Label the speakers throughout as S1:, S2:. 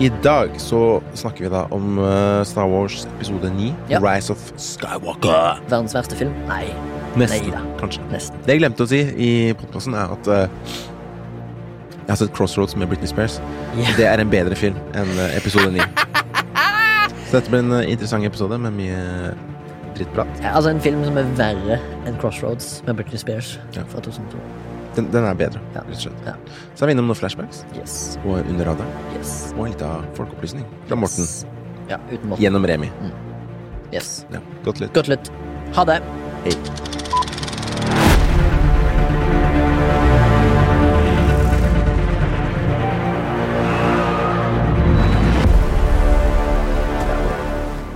S1: I dag så snakker vi da om eh, Star Wars episode 9,
S2: Ja.
S1: Rise of Skywalker.
S2: Verdens verste film? Nei.
S1: Nesten,
S2: Neida.
S1: kanskje.
S2: Nesten.
S1: Det jeg glemte å si i podkasten, er at eh, jeg har sett Crossroads med Britney Spears.
S2: Ja.
S1: Det er en bedre film enn eh, episode 9. Så dette blir en eh, interessant episode med mye drittprat.
S2: Ja, Altså en film som er verre enn Crossroads med Britney Spears
S1: Ja.
S2: fra 2002.
S1: Den, den er bedre,
S2: Ja.
S1: rett og slett.
S2: Ja.
S1: Så er vi innom noen flashbacks
S2: Yes.
S1: og under radaren.
S2: Yes.
S1: Og en liten folkeopplysning fra Morten
S2: Yes. Mm. Ja, uten Morten.
S1: gjennom Remi.
S2: Yes.
S1: Ja, godt litt.
S2: Godt lytt. Ha det.
S1: Hei.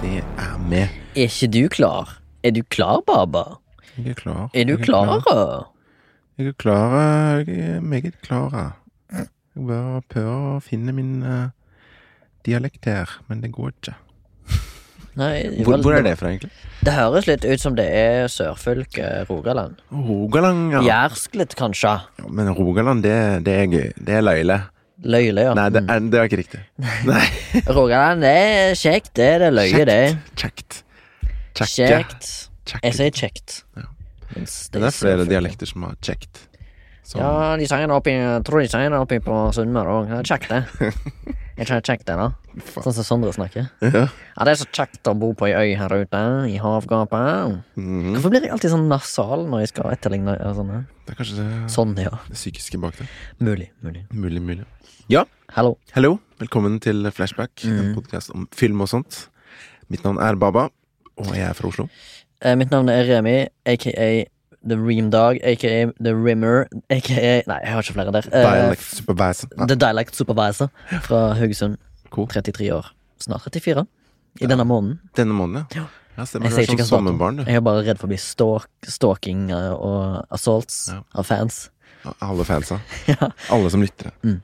S1: Det er med.
S2: Er ikke du klar? Er du klar, Baba?
S1: Jeg er klar.
S2: Er du
S1: Jeg
S2: klar?
S1: Jeg er klar. eh, Jeg er meget klar. Jeg bare prøver å finne min eh, dialekt her, men det går ikke.
S2: Nei,
S1: Hvor,
S2: vel,
S1: hvor er det fra, egentlig?
S2: Det høres litt ut som det er sørfylket Rogaland.
S1: Rogaland, ja.
S2: Jærsk litt, kanskje.
S1: Ja, Men Rogaland, det, det er gøy. Det er løyle.
S2: Løyle, ja.
S1: Nei, det, er, det var ikke riktig. Nei.
S2: Mm. Rogaland, det er kjekt, det. Det er løye, det.
S1: Kjekt. Kjekke.
S2: Kjekt. Jeg
S1: Kjekke.
S2: sier kjekt.
S1: Ja.
S2: Mens
S1: Det er flere
S2: sørfylket.
S1: dialekter som har kjekt. Som
S2: Ja, de sang den oppi Jeg tror de sang den oppi på Sunnmøre òg. Det er kjekt, det. Jeg tror det er kjekt, det, da.
S1: Faen.
S2: Sånn som Sondre snakker.
S1: Ja.
S2: Ja, det er så kjekt å bo på ei øy her ute, i havgapet.
S1: Mhm.
S2: Hvorfor blir jeg alltid sånn nasal når jeg skal etterligne ja, sånne?
S1: Det er kanskje det,
S2: Sånn, ja.
S1: det psykiske bak det.
S2: Mulig. mulig.
S1: Mulig, mulig. Ja,
S2: Hallo.
S1: hallo. Velkommen til Flashback, en podkast om film og sånt. Mitt navn er Baba, og jeg er fra Oslo.
S2: Eh, mitt navn er Remi, aka The Ream Dog, aka The Rimmer, aka Nei, jeg har ikke flere der. Eh,
S1: Dialect supervisor. Nei,
S2: The Dialect Supervisor fra Haugesund.
S1: Cool.
S2: 33 år. Snart 34. I denne måneden.
S1: Ah, Denne måneden, ja.
S2: Ja.
S1: ja stemmer.
S2: Jeg
S1: Du
S2: sier
S1: er sånn
S2: ikke hvilken dato.
S1: sommerbarn, du.
S2: Jeg er bare redd for å bli stalk, stalking eh, og assaults
S1: Ja.
S2: av fans.
S1: Ah, Alle fansa.
S2: ja, Mm.
S1: Alle som lytter. Men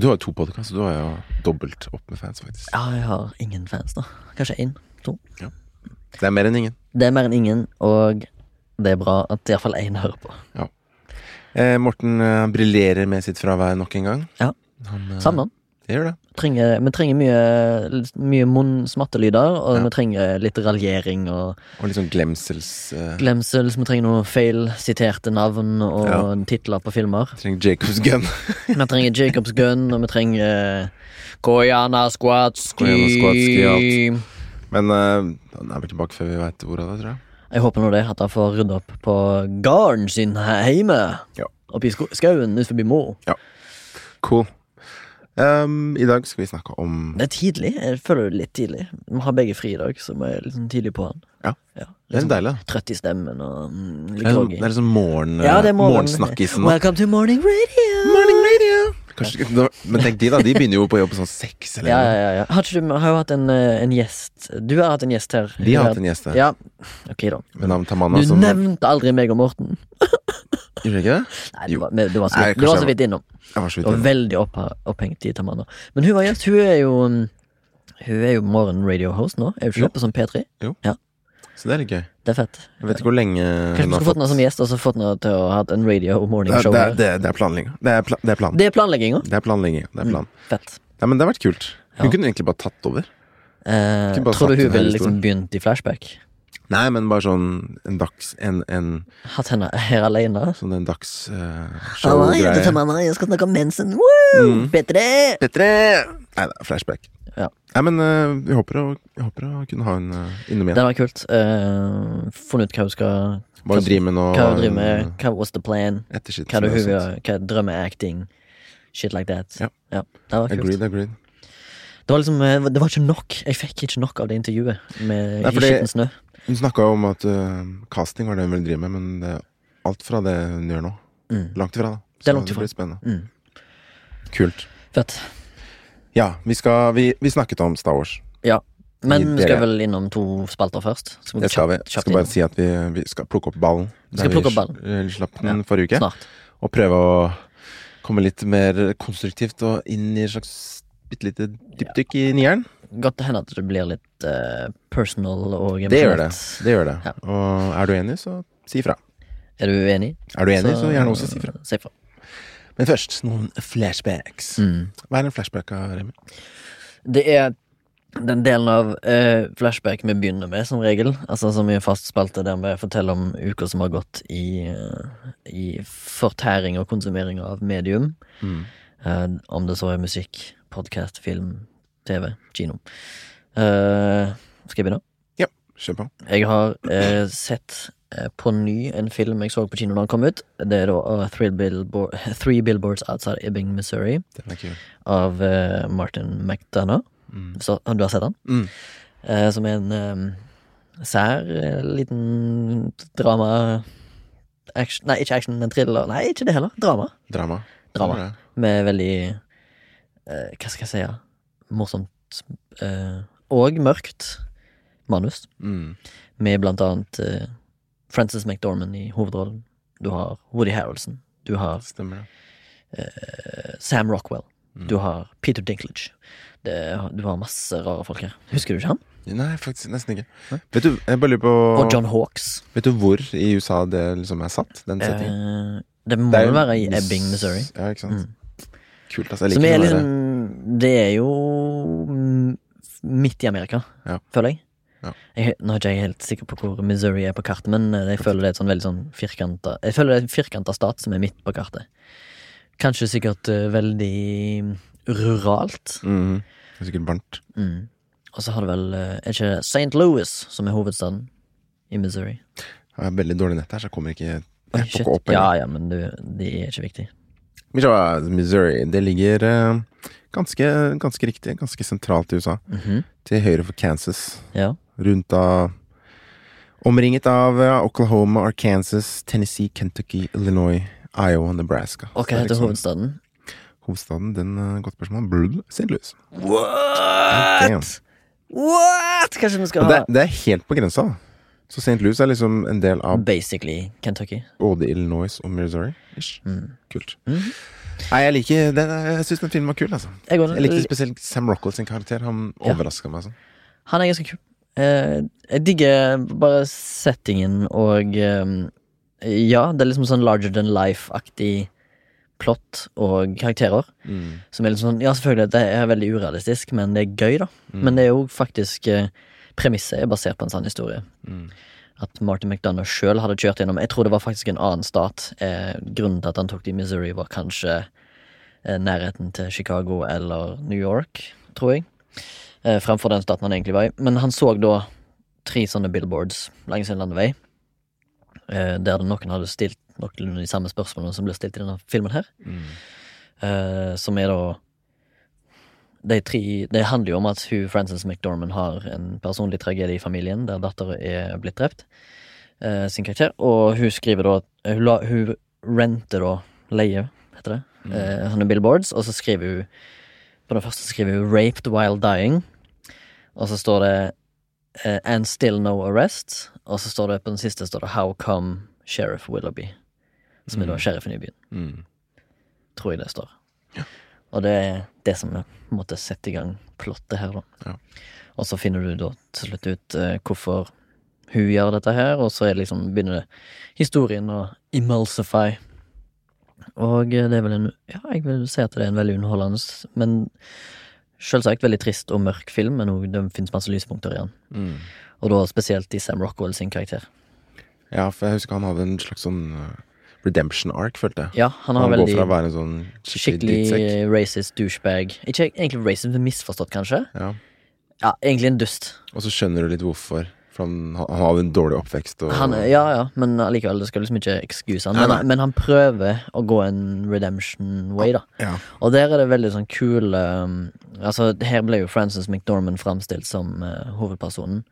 S1: Du har jo to podkaster, du har jo dobbelt opp med fans, faktisk.
S2: Ja, jeg har ingen fans, da. Kanskje én, to.
S1: Det er mer enn ingen.
S2: Det er mer enn ingen, og det er bra at iallfall én hører på.
S1: Eh, Morten eh, briljerer med sitt fravær nok en gang.
S2: Ja.
S1: Han, eh,
S2: Savner den.
S1: Det gjør det.
S2: Trenger, vi trenger mye, mye munn-smattelyder, og
S1: Ja.
S2: vi trenger litt raljering og
S1: Og litt sånn glemsels... eh,
S2: glemsel. så Vi trenger noen feilsiterte navn og
S1: Ja.
S2: titler på filmer.
S1: trenger Jacobs gun.
S2: Vi trenger Jacobs Gun, og vi trenger eh,
S1: Kojana
S2: Kojana
S1: Skvatski,
S2: Skvatski.
S1: alt. Men eh, han er vel tilbake før vi veit ordet av det, tror jeg.
S2: Jeg håper nå det at han får rydda opp på gården sin her hjemme.
S1: Ja.
S2: Oppi sko- skauen ut forbi Mo.
S1: Cool. Ehm, I dag skal vi snakke om
S2: Det er tidlig. Jeg føler det er litt tidlig. Vi har begge fri i dag, så vi er litt sånn tidlig på han.
S1: Ja. Det er
S2: litt
S1: litt
S2: sånn
S1: deilig, da.
S2: trøtt i stemmen og mm,
S1: Det
S2: litt
S1: er sånn-
S2: groggy.
S1: det er liksom morgen,
S2: Ja, det er morgen.
S1: morgensnakkisen. da.
S2: Welcome to morning radio!
S1: Morning radio! Kanskje, ikke- men tenk de, da. De begynner jo på jobb sånn seks eller
S2: Ja,
S1: noe.
S2: ja, ja, ja. Har ikke du har jo hatt en, eh, en gjest Du har hatt en gjest her.
S1: De har hatt en gjest her
S2: Ja. Ok, da.
S1: med navn
S2: Du
S1: Tamanna. Som,
S2: nevnte aldri meg og Morten.
S1: gjorde jeg ikke det?
S2: Nei,
S1: Jo.
S2: du var, du var, så,
S1: Nei,
S2: vidt, du var
S1: kanskje
S2: så vidt innom.
S1: Jeg Mm. var så vidt
S2: Og
S1: innom.
S2: veldig oppha- opphengt i Tamanna. Men hun var gjest. Hun er jo um, Hun er jo morgen radio host nå. Er hun ikke
S1: Jo.
S2: det på sånn P3?
S1: Så det er litt gøy.
S2: Det er fett.
S1: Jeg vet ikke hvor lenge hun
S2: Kanskje
S1: har
S2: vi skulle fått henne som gjest, og så fått henne til å ha en radio morning show.
S1: det,
S2: her.
S1: er- det, er- det er planlegging. Det er, pla, det er plan.
S2: Det er planlegginga.
S1: Det er planlegging. Det er plan.
S2: Fett.
S1: Nei, men det har vært kult. Hun
S2: Ja.
S1: kunne egentlig bare tatt over.
S2: Eh,
S1: Kunne bare
S2: tror du
S1: sagt en
S2: hun
S1: hel
S2: ville
S1: historie.
S2: liksom begynt i flashback?
S1: Nei, men bare sånn en dags... En, en,
S2: Hatt henne her alene?
S1: sånn en dags eh,
S2: Halla, jeg heter
S1: show-greie.
S2: Tamanna, jeg skal snakke om mensen. Woo!
S1: Mm.
S2: P3!
S1: Petre! Nei, det er flashback.
S2: Ja.
S1: Nei, men eh, vi håper å, vi håper å kunne ha henne eh, innom
S2: Det
S1: igjen.
S2: var kult. Eh, funnet ut hva hun skal
S1: Hva hun driver med nå.
S2: Hva hun driver med. Hva was the plan?
S1: Etterskitt.
S2: Hva er det hun gjør? Hva er drømmeacting? Shit like that.
S1: Ja.
S2: det var kult.
S1: Agreed, agreed.
S2: Det var liksom, eh, det var ikke nok. Jeg fikk ikke nok av det intervjuet med
S1: Nei,
S2: i
S1: fordi-
S2: skitten snø.
S1: Hun snakka jo om at eh, casting var det hun ville drive med, men det er alt fra det hun gjør nå.
S2: Mm.
S1: Langt ifra, da.
S2: Det er langt
S1: Så
S2: ifra.
S1: blir spennende.
S2: Mm.
S1: Kult.
S2: Fett.
S1: Ja, vi, skal, vi, vi snakket om Star Wars.
S2: Ja. Men
S1: I
S2: vi skal
S1: det-
S2: vel innom to spalter først? Så
S1: Det skal vi.
S2: kjapt- kjapt
S1: Skal bare
S2: innom.
S1: si at vi, vi skal plukke opp ballen.
S2: skal
S1: Der
S2: plukke opp ballen.
S1: eh, slapp den forrige uke.
S2: Snart.
S1: Og prøve å komme litt mer konstruktivt og inn i et slags bitte lite dypdykk i nieren.
S2: Godt det hender at det blir litt eh, personal og
S1: Det gjør det.
S2: emosjonelt.
S1: det, gjør det.
S2: Ja.
S1: Og er du enig, så si ifra.
S2: Er du uenig?
S1: Er du enig, så, gjerne også si ifra.
S2: Si fra.
S1: Men først noen flashbacks.
S2: Mm.
S1: Hva er en flashback av Remi?
S2: Det er den delen av eh, flashback vi begynner med, som regel. Altså som i en fast spalte der vi forteller om uker som har gått i, eh, i fortæring og konsumering av medium.
S1: Mm.
S2: Eh, om det så er musikk, podkast, film, TV, kino. Eh, skal jeg begynne?
S1: Kjør på.
S2: Jeg har eh, sett eh, på ny en film jeg så på kino da den kom ut. Det er da eh, Three, Billboard, Three Billboards Outside Ebbing, Missouri,
S1: Den er kul.
S2: av eh, Martin McDonough.
S1: Mm.
S2: Så, har du har sett den?
S1: Mm.
S2: Eh, som er en eh, sær eh, liten drama action, Nei, ikke action, men thriller. Nei, ikke det heller. Drama.
S1: Drama. Det
S2: Drama.
S1: er det.
S2: Med veldig eh, Hva skal jeg si? ja? Morsomt eh, og mørkt manus.
S1: Mm.
S2: Med blant annet eh, Frances McDormand i hovedrollen. Du har Woody Harrelson. Du har
S1: Stemmer det.
S2: eh, Sam Rockwell.
S1: Mm.
S2: Du har Peter Dinklage. Det, du har masse rare folk her. Husker du ikke han?
S1: Nei, faktisk nesten ikke.
S2: Nei.
S1: Vet du, jeg bare lurer på
S2: Og John Hawks.
S1: Vet du hvor i USA det liksom er satt? Den settingen?
S2: Eh, det må
S1: Det er
S2: jo være i
S1: Miss-
S2: Ebbing, Missouri.
S1: Ja, ikke sant.
S2: Mm.
S1: Kult, altså. Jeg
S2: Som er
S1: liker
S2: liksom
S1: liksom...
S2: Det er jo mm, midt i Amerika,
S1: Ja.
S2: føler jeg.
S1: Ja.
S2: jeg. Nå er ikke jeg helt sikker på hvor Missouri er på kartet, men eh, jeg føler det er et sånn veldig sånn firkanta Jeg føler det er en firkanta stat som er midt på kartet. Kanskje sikkert eh, veldig mm, ruralt.
S1: Mhm. Det er Sikkert varmt.
S2: Mm. Og så har du vel eh, Er ikke det St. Louis som er hovedstaden i Missouri?
S1: Jeg har veldig dårlig nett her, så jeg kommer ikke jeg
S2: Oi,
S1: får
S2: shit.
S1: ikke opp
S2: ja,
S1: engang.
S2: ja, men du, det er ikke viktig.
S1: Vi ser hva- Missouri. Det ligger eh, ganske, ganske riktig, ganske sentralt i USA.
S2: Mhm.
S1: Til høyre for Kansas.
S2: Ja.
S1: Rundt av Omringet av eh, Oklahoma, Arkansas, Tennessee, Kentucky, Illinois, Iowa, Nebraska. Så
S2: Og hva
S1: det er
S2: heter
S1: liksom-
S2: hovedstaden?
S1: Hovedstaden, den eh, Godt spørsmål. Blub, St. Louis. Damn.
S2: What? What? Kanskje vi skal
S1: Men
S2: ha
S1: det, det er helt på grensa. da. Så St. Louis er liksom en del av
S2: Basically Kentucky.
S1: både Illinois og Missouri. Ish.
S2: Mm.
S1: Kult.
S2: Mhm.
S1: Nei, jeg liker den, Jeg syns den filmen var kul, altså.
S2: Jeg, går,
S1: Jeg likte spesielt Sam Rockwell sin karakter. Han
S2: Ja.
S1: overraska meg sånn.
S2: han er ganske kul. Eh, jeg digger bare settingen og eh, Ja, det er liksom sånn larger than life-aktig plott og karakterer.
S1: Mm.
S2: Som er liksom sånn Ja, selvfølgelig, det er veldig urealistisk, men det er gøy, da.
S1: Mm.
S2: Men det er jo faktisk eh, Premisset er basert på en sann historie.
S1: Mm.
S2: At Martin McDonagh sjøl hadde kjørt gjennom Jeg tror det var faktisk en annen stat. Eh, grunnen til at han tok det i Missouri, var kanskje eh, nærheten til Chicago eller New York, tror jeg. Eh, fremfor den staten han egentlig var i. Men han så da tre sånne billboards langs en landevei, eh, der noen hadde stilt noen av de samme spørsmålene som ble stilt i denne filmen her.
S1: Mm.
S2: Eh, som er da de tre, Det handler jo om at hun, Frances McDormand har en personlig tragedie i familien der datter er blitt drept. eh, sin karakter. Og hun skriver da at eh, hun, la, hun renter da leie, heter det.
S1: Mm.
S2: eh, sånne billboards, og så skriver hun På den første skriver hun 'raped while dying', og så står det eh, 'and still no arrest', og så står det på den siste står det 'how come sheriff Willoughby', som er da
S1: Mm.
S2: sheriffen i byen
S1: Mm.
S2: tror jeg det står.
S1: Ja.
S2: Og det er det som er, på en måte setter i gang plottet her, da.
S1: Ja.
S2: Og så finner du da til slutt ut eh, hvorfor hun gjør dette her, og så er det liksom, begynner det historien å emulsify. Og eh, det er vel en Ja, jeg vil si at det er en veldig underholdende, s- men selvsagt veldig trist og mørk film, men også, det finnes masse lyspunkter i den.
S1: Mm.
S2: Og da spesielt i Sam Rockwell sin karakter.
S1: Ja, for jeg husker han hadde en slags sånn uh, redemption arc, følte jeg.
S2: Ja, han har
S1: han går
S2: veldig
S1: fra å være en sånn skikkelig drittsekk
S2: skikkelig racist douchebag Ikke egentlig racist, men misforstått, kanskje.
S1: ja.
S2: Ja, egentlig en dust.
S1: Og så skjønner du litt hvorfor. For han, han hadde en dårlig oppvekst. Og,
S2: Han, ja, ja, men allikevel, det skal liksom ikke excuse han.
S1: Nei,
S2: Men,
S1: nei.
S2: men han prøver å gå en redemption way, da.
S1: Ja.
S2: Og der er det veldig sånn kul um, Altså, her ble jo Frances McDormand framstilt som eh, hovedpersonen,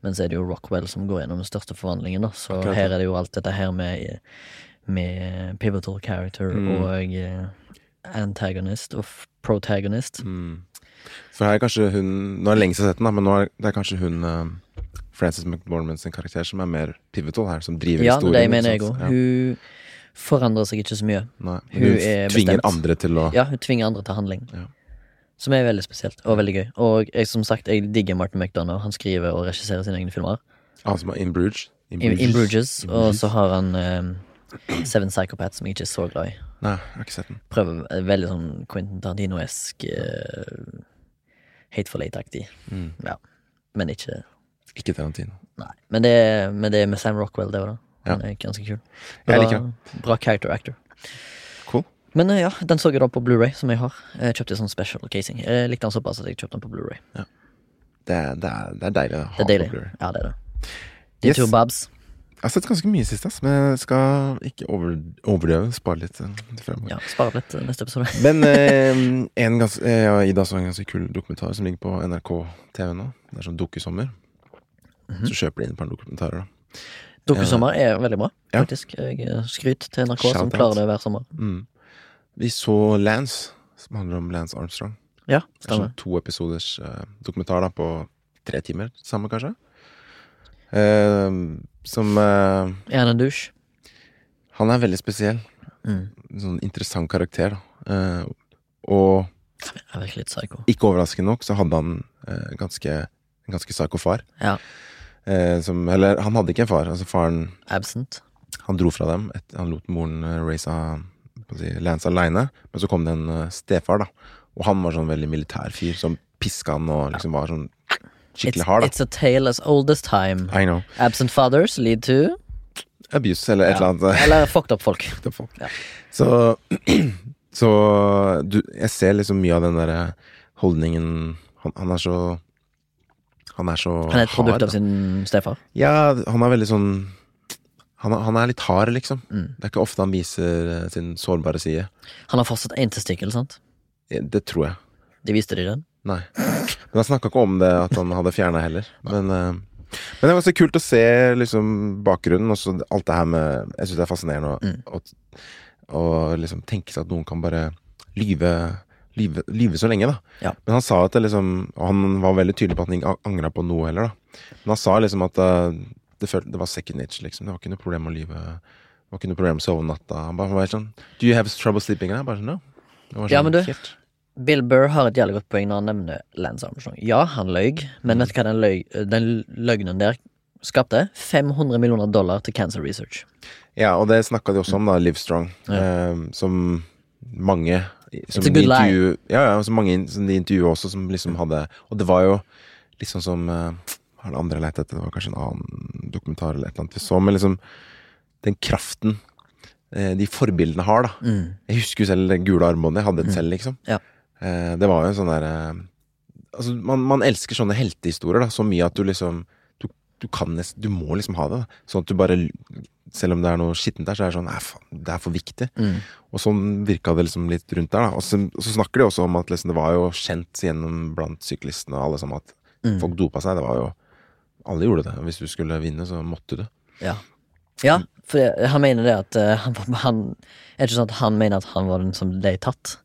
S2: men så er det jo Rockwell som går gjennom den største forvandlingen, da. Så
S1: Akkurat, ja.
S2: her er det jo alt dette her med, med pivotal character
S1: Mm.
S2: og eh, antagonist og f- protagonist.
S1: Mm. For her er kanskje hun Nå er det lenge siden jeg har sett den, da, men nå er det er kanskje hun eh, Frances McDormand sin karakter som er mer pivotal her, som driver
S2: Ja,
S1: historien.
S2: det
S1: ikke
S2: mener
S1: sant?
S2: jeg òg.
S1: altså. Ja.
S2: Hun forandrer seg ikke så mye.
S1: Nei, men
S2: Hun
S1: hun
S2: er
S1: tvinger
S2: bestemt.
S1: andre til å
S2: Ja, hun tvinger andre til handling.
S1: Ja.
S2: Som er veldig spesielt og veldig gøy. Og jeg, som sagt, jeg digger Martin McDonagh. Han skriver og regisserer sine egne filmer.
S1: Han som er in Bruges. In
S2: In, In Bruges.
S1: In
S2: Og
S1: Bruges.
S2: så har han eh, Seven Psychopaths, som jeg ikke er så glad i.
S1: Nei, jeg har ikke sett den.
S2: Prøver eh, veldig sånn Quentin Tarantino-esk eh, Hateful Eight-aktig.
S1: Mm.
S2: Ja. Men ikke
S1: Ikke Tarantino.
S2: Nei. Men det, er- men det er med Sam Rockwell, det var det. Han er ganske kul.
S1: Jeg
S2: Bra-
S1: liker han.
S2: Bra character actor.
S1: Cool.
S2: Men eh, ja, den så jeg da på Blu-ray som jeg har. Jeg kjøpte sånn special casing. Jeg likte den såpass at jeg kjøpte den på Blu-ray
S1: Det er, det er, det er deilig å ha
S2: Det er deilig.
S1: på Blu-ray.
S2: Ja, det er det. De
S1: Yes.
S2: to Babs.
S1: Jeg har sett ganske mye sist, ass, men jeg skal ikke over, overdøve. Spare litt eh, til fremover.
S2: Ja, spare litt eh, neste episode.
S1: Men eh, en gans, eh, jeg og Ida så en ganske kul dokumentar som ligger på NRK TV nå. Det er sånn dukkesommer.
S2: Mhm.
S1: Så kjøper de inn et par dokumentarer, da.
S2: Dokusommer er veldig bra,
S1: Ja.
S2: faktisk. Jeg eh, skryt til NRK som
S1: Shout out.
S2: klarer det hver sommer.
S1: Mm. Vi så Lance, som handler om Lance Armstrong.
S2: Ja,
S1: Det er sånn
S2: stemmer.
S1: to episoders eh, dokumentar da, på tre timer, samme kanskje. Eh, som eh,
S2: Er han en douche?
S1: Han er veldig spesiell.
S2: Mm.
S1: En sånn interessant karakter, da. Eh, og
S2: Er virkelig litt psyko.
S1: ikke overraskende nok så hadde han eh, ganske, en ganske psyko far.
S2: Ja.
S1: Eh, som, eller han hadde ikke en far. Altså faren
S2: Absent.
S1: Han dro fra dem. Et, han lot moren eh, race av- hva skal jeg si, Lance aleine. Men så kom det en eh, stefar, da. Og han var sånn veldig militær fyr som piska han og liksom var sånn
S2: It's,
S1: skikkelig hard, da.
S2: it's a tale as old as time.
S1: I know.
S2: Absent fathers lead to
S1: Abuse eller et
S2: Ja.
S1: eller annet.
S2: Eller fucked up folk.
S1: til folk.
S2: Ja.
S1: Så, så du, jeg ser liksom mye av den derre holdningen han, han er så Han er så
S2: Han er et produkt
S1: hard,
S2: av sin stefar.
S1: Ja, han er veldig sånn han er, han er litt hard, liksom.
S2: Mm.
S1: Det er ikke ofte han viser eh, sin sårbare side.
S2: Han har fortsatt én testikkel, sant?
S1: Eh, Det tror jeg.
S2: De viste de den.
S1: Nei. Men han snakka ikke om det, at han hadde fjerna heller. Men, eh, men det var så kult å se liksom bakgrunnen, og så alt det her med Jeg syns det er fascinerende å,
S2: Mm.
S1: å, å liksom tenke seg at noen kan bare lyve, lyve, lyve så lenge, da.
S2: Ja.
S1: Men han sa at det liksom Og han var veldig tydelig på at han ikke angra på noe heller, da. Men han sa liksom at eh, det, følte, det var second nature, liksom. Det var ikke noe problem å lyve. Det var ikke noe problem å sove om natta. Han bare han var helt sånn Do you have trouble sleeping? Og Jeg bare sånn, no. Det var
S2: Ja, men du-
S1: helt-
S2: Bill Burr har et jævlig godt poeng når han nevner Lance Armstrong. Ja, han løy, men vet du hva den, løy, den løgnen der skapte? 500 millioner dollar til cancer research.
S1: Ja, og det snakka de også om, da, Livestrong. eh, som mange som
S2: It's a
S1: de
S2: good lie.
S1: intervju- Ja, ja, som mange in- som de intervjuet også, som liksom hadde Og det var jo liksom som eh, Hva er det andre jeg lette etter? Det var kanskje en annen dokumentar eller et eller annet vi så, men liksom den kraften eh, de forbildene har, da.
S2: Mm.
S1: Jeg husker jo selv det gule armbåndet. Jeg hadde et selv, liksom.
S2: Ja.
S1: Eh, det var jo en sånn derre Altså, man, man elsker sånne heltehistorier, da, så mye at du liksom Du, du kan nesten Du må liksom ha det, da. Sånn at du bare Selv om det er noe skittent der, så er det sånn Nei, faen, det er for viktig.
S2: Mm.
S1: Og sånn virka det liksom litt rundt der, da. Og så, og så snakker de også om at liksom, det var jo kjent gjennom blant syklistene og alle sammen at
S2: Mm.
S1: folk dopa seg. Det var jo Alle gjorde det. Hvis du skulle vinne, så måtte du.
S2: Ja. ja, for jeg- han mener det at eh, han, var- han Er det ikke sånn at han mener at han var den som ble tatt?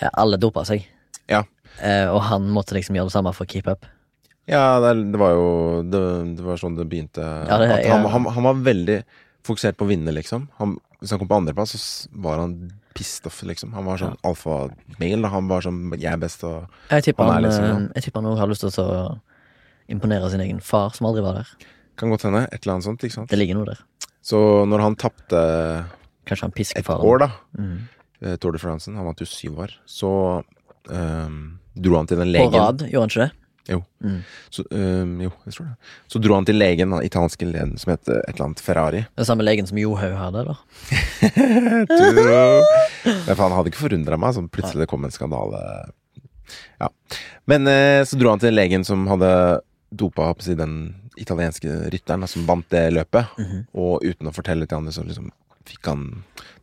S2: Eh, alle dopa seg.
S1: Ja.
S2: Eh, og han måtte liksom gjøre det samme for å keep up.
S1: Ja, det, er- det var jo det, det var sånn det begynte.
S2: Ja, det-
S1: at han,
S2: ja.
S1: han, han var veldig fokusert på å vinne, liksom. Han, hvis han kom på andreplass, så s- var han pissed off, liksom. Han var sånn alfamale. da. Han var sånn 'jeg er best' og
S2: Jeg tipper
S1: Han er
S2: han,
S1: liksom,
S2: eh,
S1: ja.
S2: jeg tipper han også har lyst til å imponere sin egen far, som aldri var der.
S1: Kan godt hende. Et eller annet sånt, ikke sant.
S2: Det ligger noe der.
S1: Så når han tapte
S2: Kanskje han pisker
S1: et
S2: faren.
S1: år, da,
S2: Mm.
S1: eh, Tour de France, han vant jo syv år, så ehm, dro han til den
S2: På
S1: legen.
S2: rad, gjorde han ikke det?
S1: Jo.
S2: Mm.
S1: Så, ehm, jo, jeg tror det. Så dro han til legen, den italienske legen som het eh, et eller annet Ferrari.
S2: Den samme legen som Johaug hadde, eller?
S1: Turo. Men faen, han hadde ikke forundra meg. Sånn, plutselig det kom en skandale. Ja. Men eh, så dro han til legen som hadde dopa opp si, den italienske rytteren da, som vant det løpet. Og uten å fortelle til andre, så liksom fikk han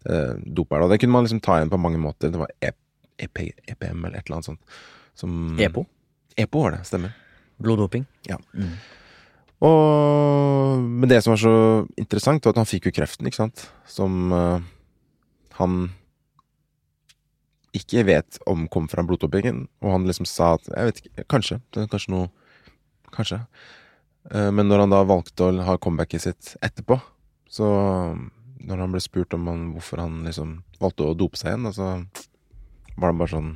S1: eh, dopa det. Og det kunne man liksom ta igjen på mange måter. Det var E- EP, EPM eller et eller annet sånt. Som,
S2: Epo.
S1: EPO var det, stemmer.
S2: Bloddoping.
S1: Og, men det som var så interessant, var at han fikk jo kreften, ikke sant? Som eh, han ikke vet om kom fra blodtoppingen. Og han liksom sa at Jeg vet ikke, kanskje. Det er kanskje noe Kanskje. Eh, men når han da valgte å ha comebacket sitt etterpå, så Når han ble spurt om han, hvorfor han liksom valgte å dope seg igjen, og så var han bare sånn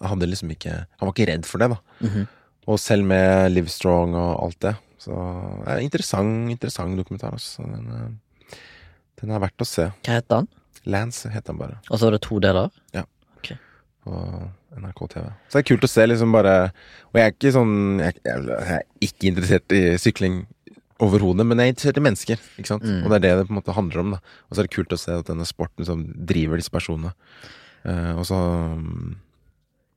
S1: Han hadde liksom ikke Han var ikke redd for det, da.
S2: Mhm.
S1: Og selv med Livestrong og alt det. Så det er en interessant, interessant dokumentar. Altså. Den, eh, Den er verdt å se.
S2: Hva heter den?
S1: Lance heter den bare.
S2: Og så er det to deler?
S1: På NRK TV. Så det er kult å se liksom bare Og jeg er ikke sånn Jeg, jeg, jeg er ikke interessert i sykling overhodet, men jeg er interessert i mennesker. Ikke sant?
S2: Mm.
S1: Og det er det det på en måte handler om. da Og så er det kult å se at denne sporten som driver disse personene. Eh, og så mm,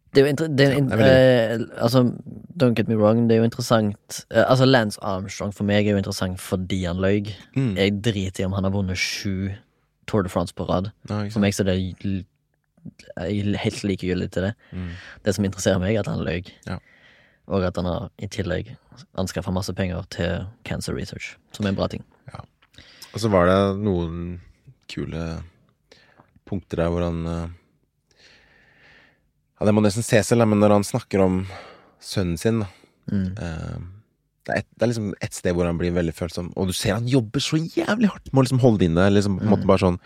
S2: Det er jo inter det er jo in
S1: Ja, det
S2: eh, altså, don't get me wrong, det er jo interessant eh, Altså, Lance Armstrong for meg er jo interessant fordi han løy.
S1: mm,
S2: Jeg driter i om han har vunnet sju Tour de France på rad.
S1: ja, ikke
S2: For
S1: sant?
S2: meg så er det l- jeg er helt likegyldig til det.
S1: Mm.
S2: Det som interesserer meg, er at han løy.
S1: Ja.
S2: Og at han har i tillegg anskaffa masse penger til cancer research, som er en bra ting.
S1: Og så var det noen kule punkter der hvor han eh, Ja, det må nesten se selv, da, men når han snakker om sønnen sin da,
S2: Mm.
S1: eh, det, er et, det er liksom et sted hvor han blir veldig følsom, og du ser han jobber så jævlig hardt med å liksom holde det inne. Liksom, på en måte bare sånn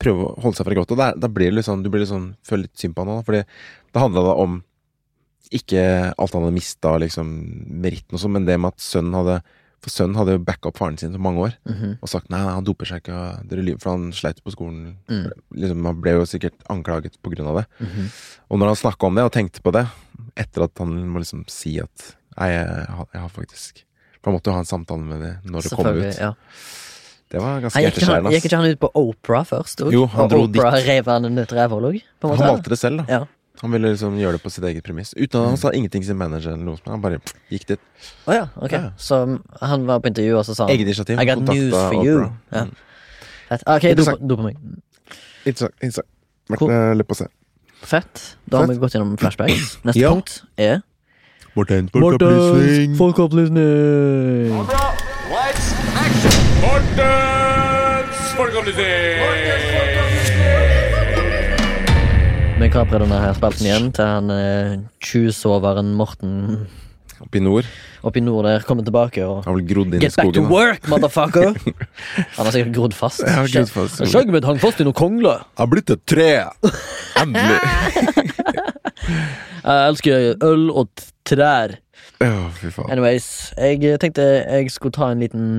S1: Prøve å holde seg fra gråt. Og der, da blir det litt sånn, du blir litt sånn, føler litt synd på han òg, fordi det handla da om ikke alt han hadde mista, liksom, meritten og sånn, men det med at sønnen hadde For sønnen hadde jo backa opp faren sin for mange år
S2: Mhm.
S1: og sagt nei, nei, han doper seg ikke, og dere lyver, for han sleit på skolen.
S2: Mm.
S1: Liksom, han ble jo sikkert anklaget på grunn av det.
S2: Mhm.
S1: Og når han snakka om det, og tenkte på det, etter at han må liksom si at nei, jeg, har- jeg har faktisk For han måtte jo ha en samtale med det når det kom
S2: Selvfølgelig,
S1: ut.
S2: ja.
S1: Det var ganske
S2: Han gikk, ikke han,
S1: hjerteskjærende.
S2: gikk
S1: ass.
S2: ikke han ut på Opera først? og-
S1: Jo, han
S2: og
S1: dro
S2: Opera
S1: dit.
S2: rev han et rævhull òg, på en
S1: Han
S2: måte?
S1: valgte det selv, da.
S2: Ja.
S1: Han ville liksom gjøre det på sitt eget premiss. Uten at Han sa ingenting til sin manager, eller noe sånt. Han bare pff, gikk dit.
S2: Å ja, ok.
S1: Ja.
S2: Så han var på intervju, og så sa han
S1: Eget initiativ.
S2: I got
S1: kontakta
S2: news for
S1: Oprah.
S2: you. Ja.
S1: Mm.
S2: Fett. Ah, Ok, do på,
S1: Interessant.
S2: do på meg.
S1: Interessant. interessant. Men,
S2: Cool.
S1: eh, Litt på å se.
S2: Fett. Da har
S1: Fett.
S2: vi gått gjennom flashbacks. Neste
S1: Ja.
S2: punkt er
S1: Morten,
S2: Mortens folkeopplysning.
S3: Bra. Lights, action!
S4: Mortens folkeopplysning!
S2: Vi kaprer denne her spalten igjen til han eh, tjuvsoveren Morten
S1: Oppe i nord.
S2: oppe i nord der kommer tilbake og
S1: Har vel grodd inn i
S2: Get back to
S1: skogen. da.
S2: work, motherfucker! Han har sikkert grodd fast.
S1: Ja, grodd fast.
S2: Skjegget mitt hang fast i noen kongler.
S1: Jeg har blitt et tre! Endelig!
S2: Jeg elsker øl og t- trær.
S1: Å, fy faen.
S2: Anyways, jeg eh, tenkte jeg skulle ta en liten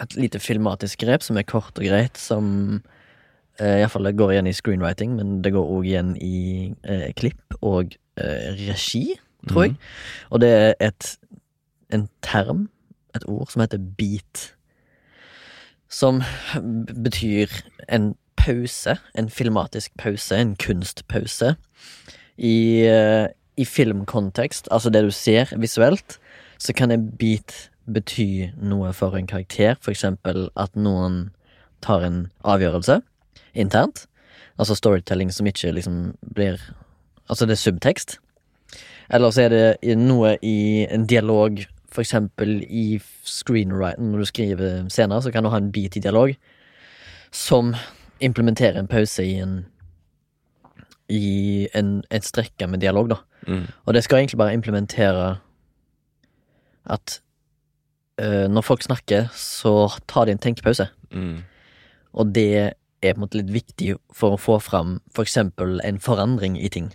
S2: Et lite filmatisk grep som er kort og greit, som eh, iallfall det går igjen i screenwriting, men det går òg igjen i eh, klipp og eh, regi, tror jeg. Og det er et en term, et ord, som heter beat. Som b- betyr en pause, en filmatisk pause, en kunstpause. I, eh, i filmkontekst, altså det du ser visuelt, så kan en beat bety noe for en karakter. For eksempel at noen tar en avgjørelse internt. Altså storytelling som ikke liksom blir Altså det er subtekst. Eller så er det i- noe i en dialog, for eksempel i screenwriting, når du skriver scener, så kan du ha en bit i dialog som implementerer en pause i en i en, en strekke med dialog, da.
S1: Mm.
S2: Og det skal egentlig bare implementere at eh, når folk snakker, så tar de en tenkepause.
S1: Mm.
S2: Og det er på en måte litt viktig for å få fram for eksempel en forandring i ting.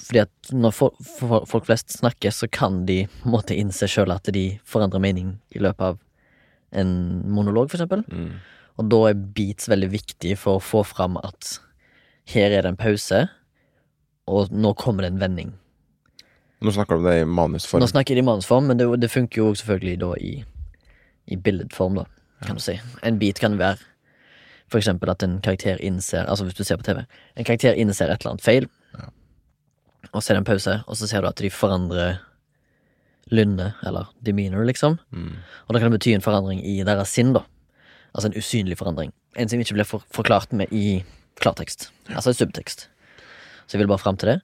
S2: Fordi at når fo- fo- folk flest snakker, så kan de på en måte innse sjøl at de forandrer mening i løpet av en monolog, for eksempel.
S1: Mm.
S2: Og da er beats veldig viktig for å få fram at her er det en pause, og nå kommer det en vending.
S1: Nå snakker du om det i
S2: Nå
S1: manusform.
S2: snakker jeg i mannsform, men det, det funker jo selvfølgelig da i, i billedform, da, kan du si. En bit kan være for eksempel at en karakter innser Altså hvis du ser på TV, en karakter innser et eller annet feil, og så er det en pause, og så ser du at de forandrer lynne, eller demeanor, liksom.
S1: Mm.
S2: Og det kan bety en forandring i deres sinn, da. Altså en usynlig forandring. En som ikke blir for forklart med i klartekst. Altså i subtekst. Så jeg vil bare fram til det.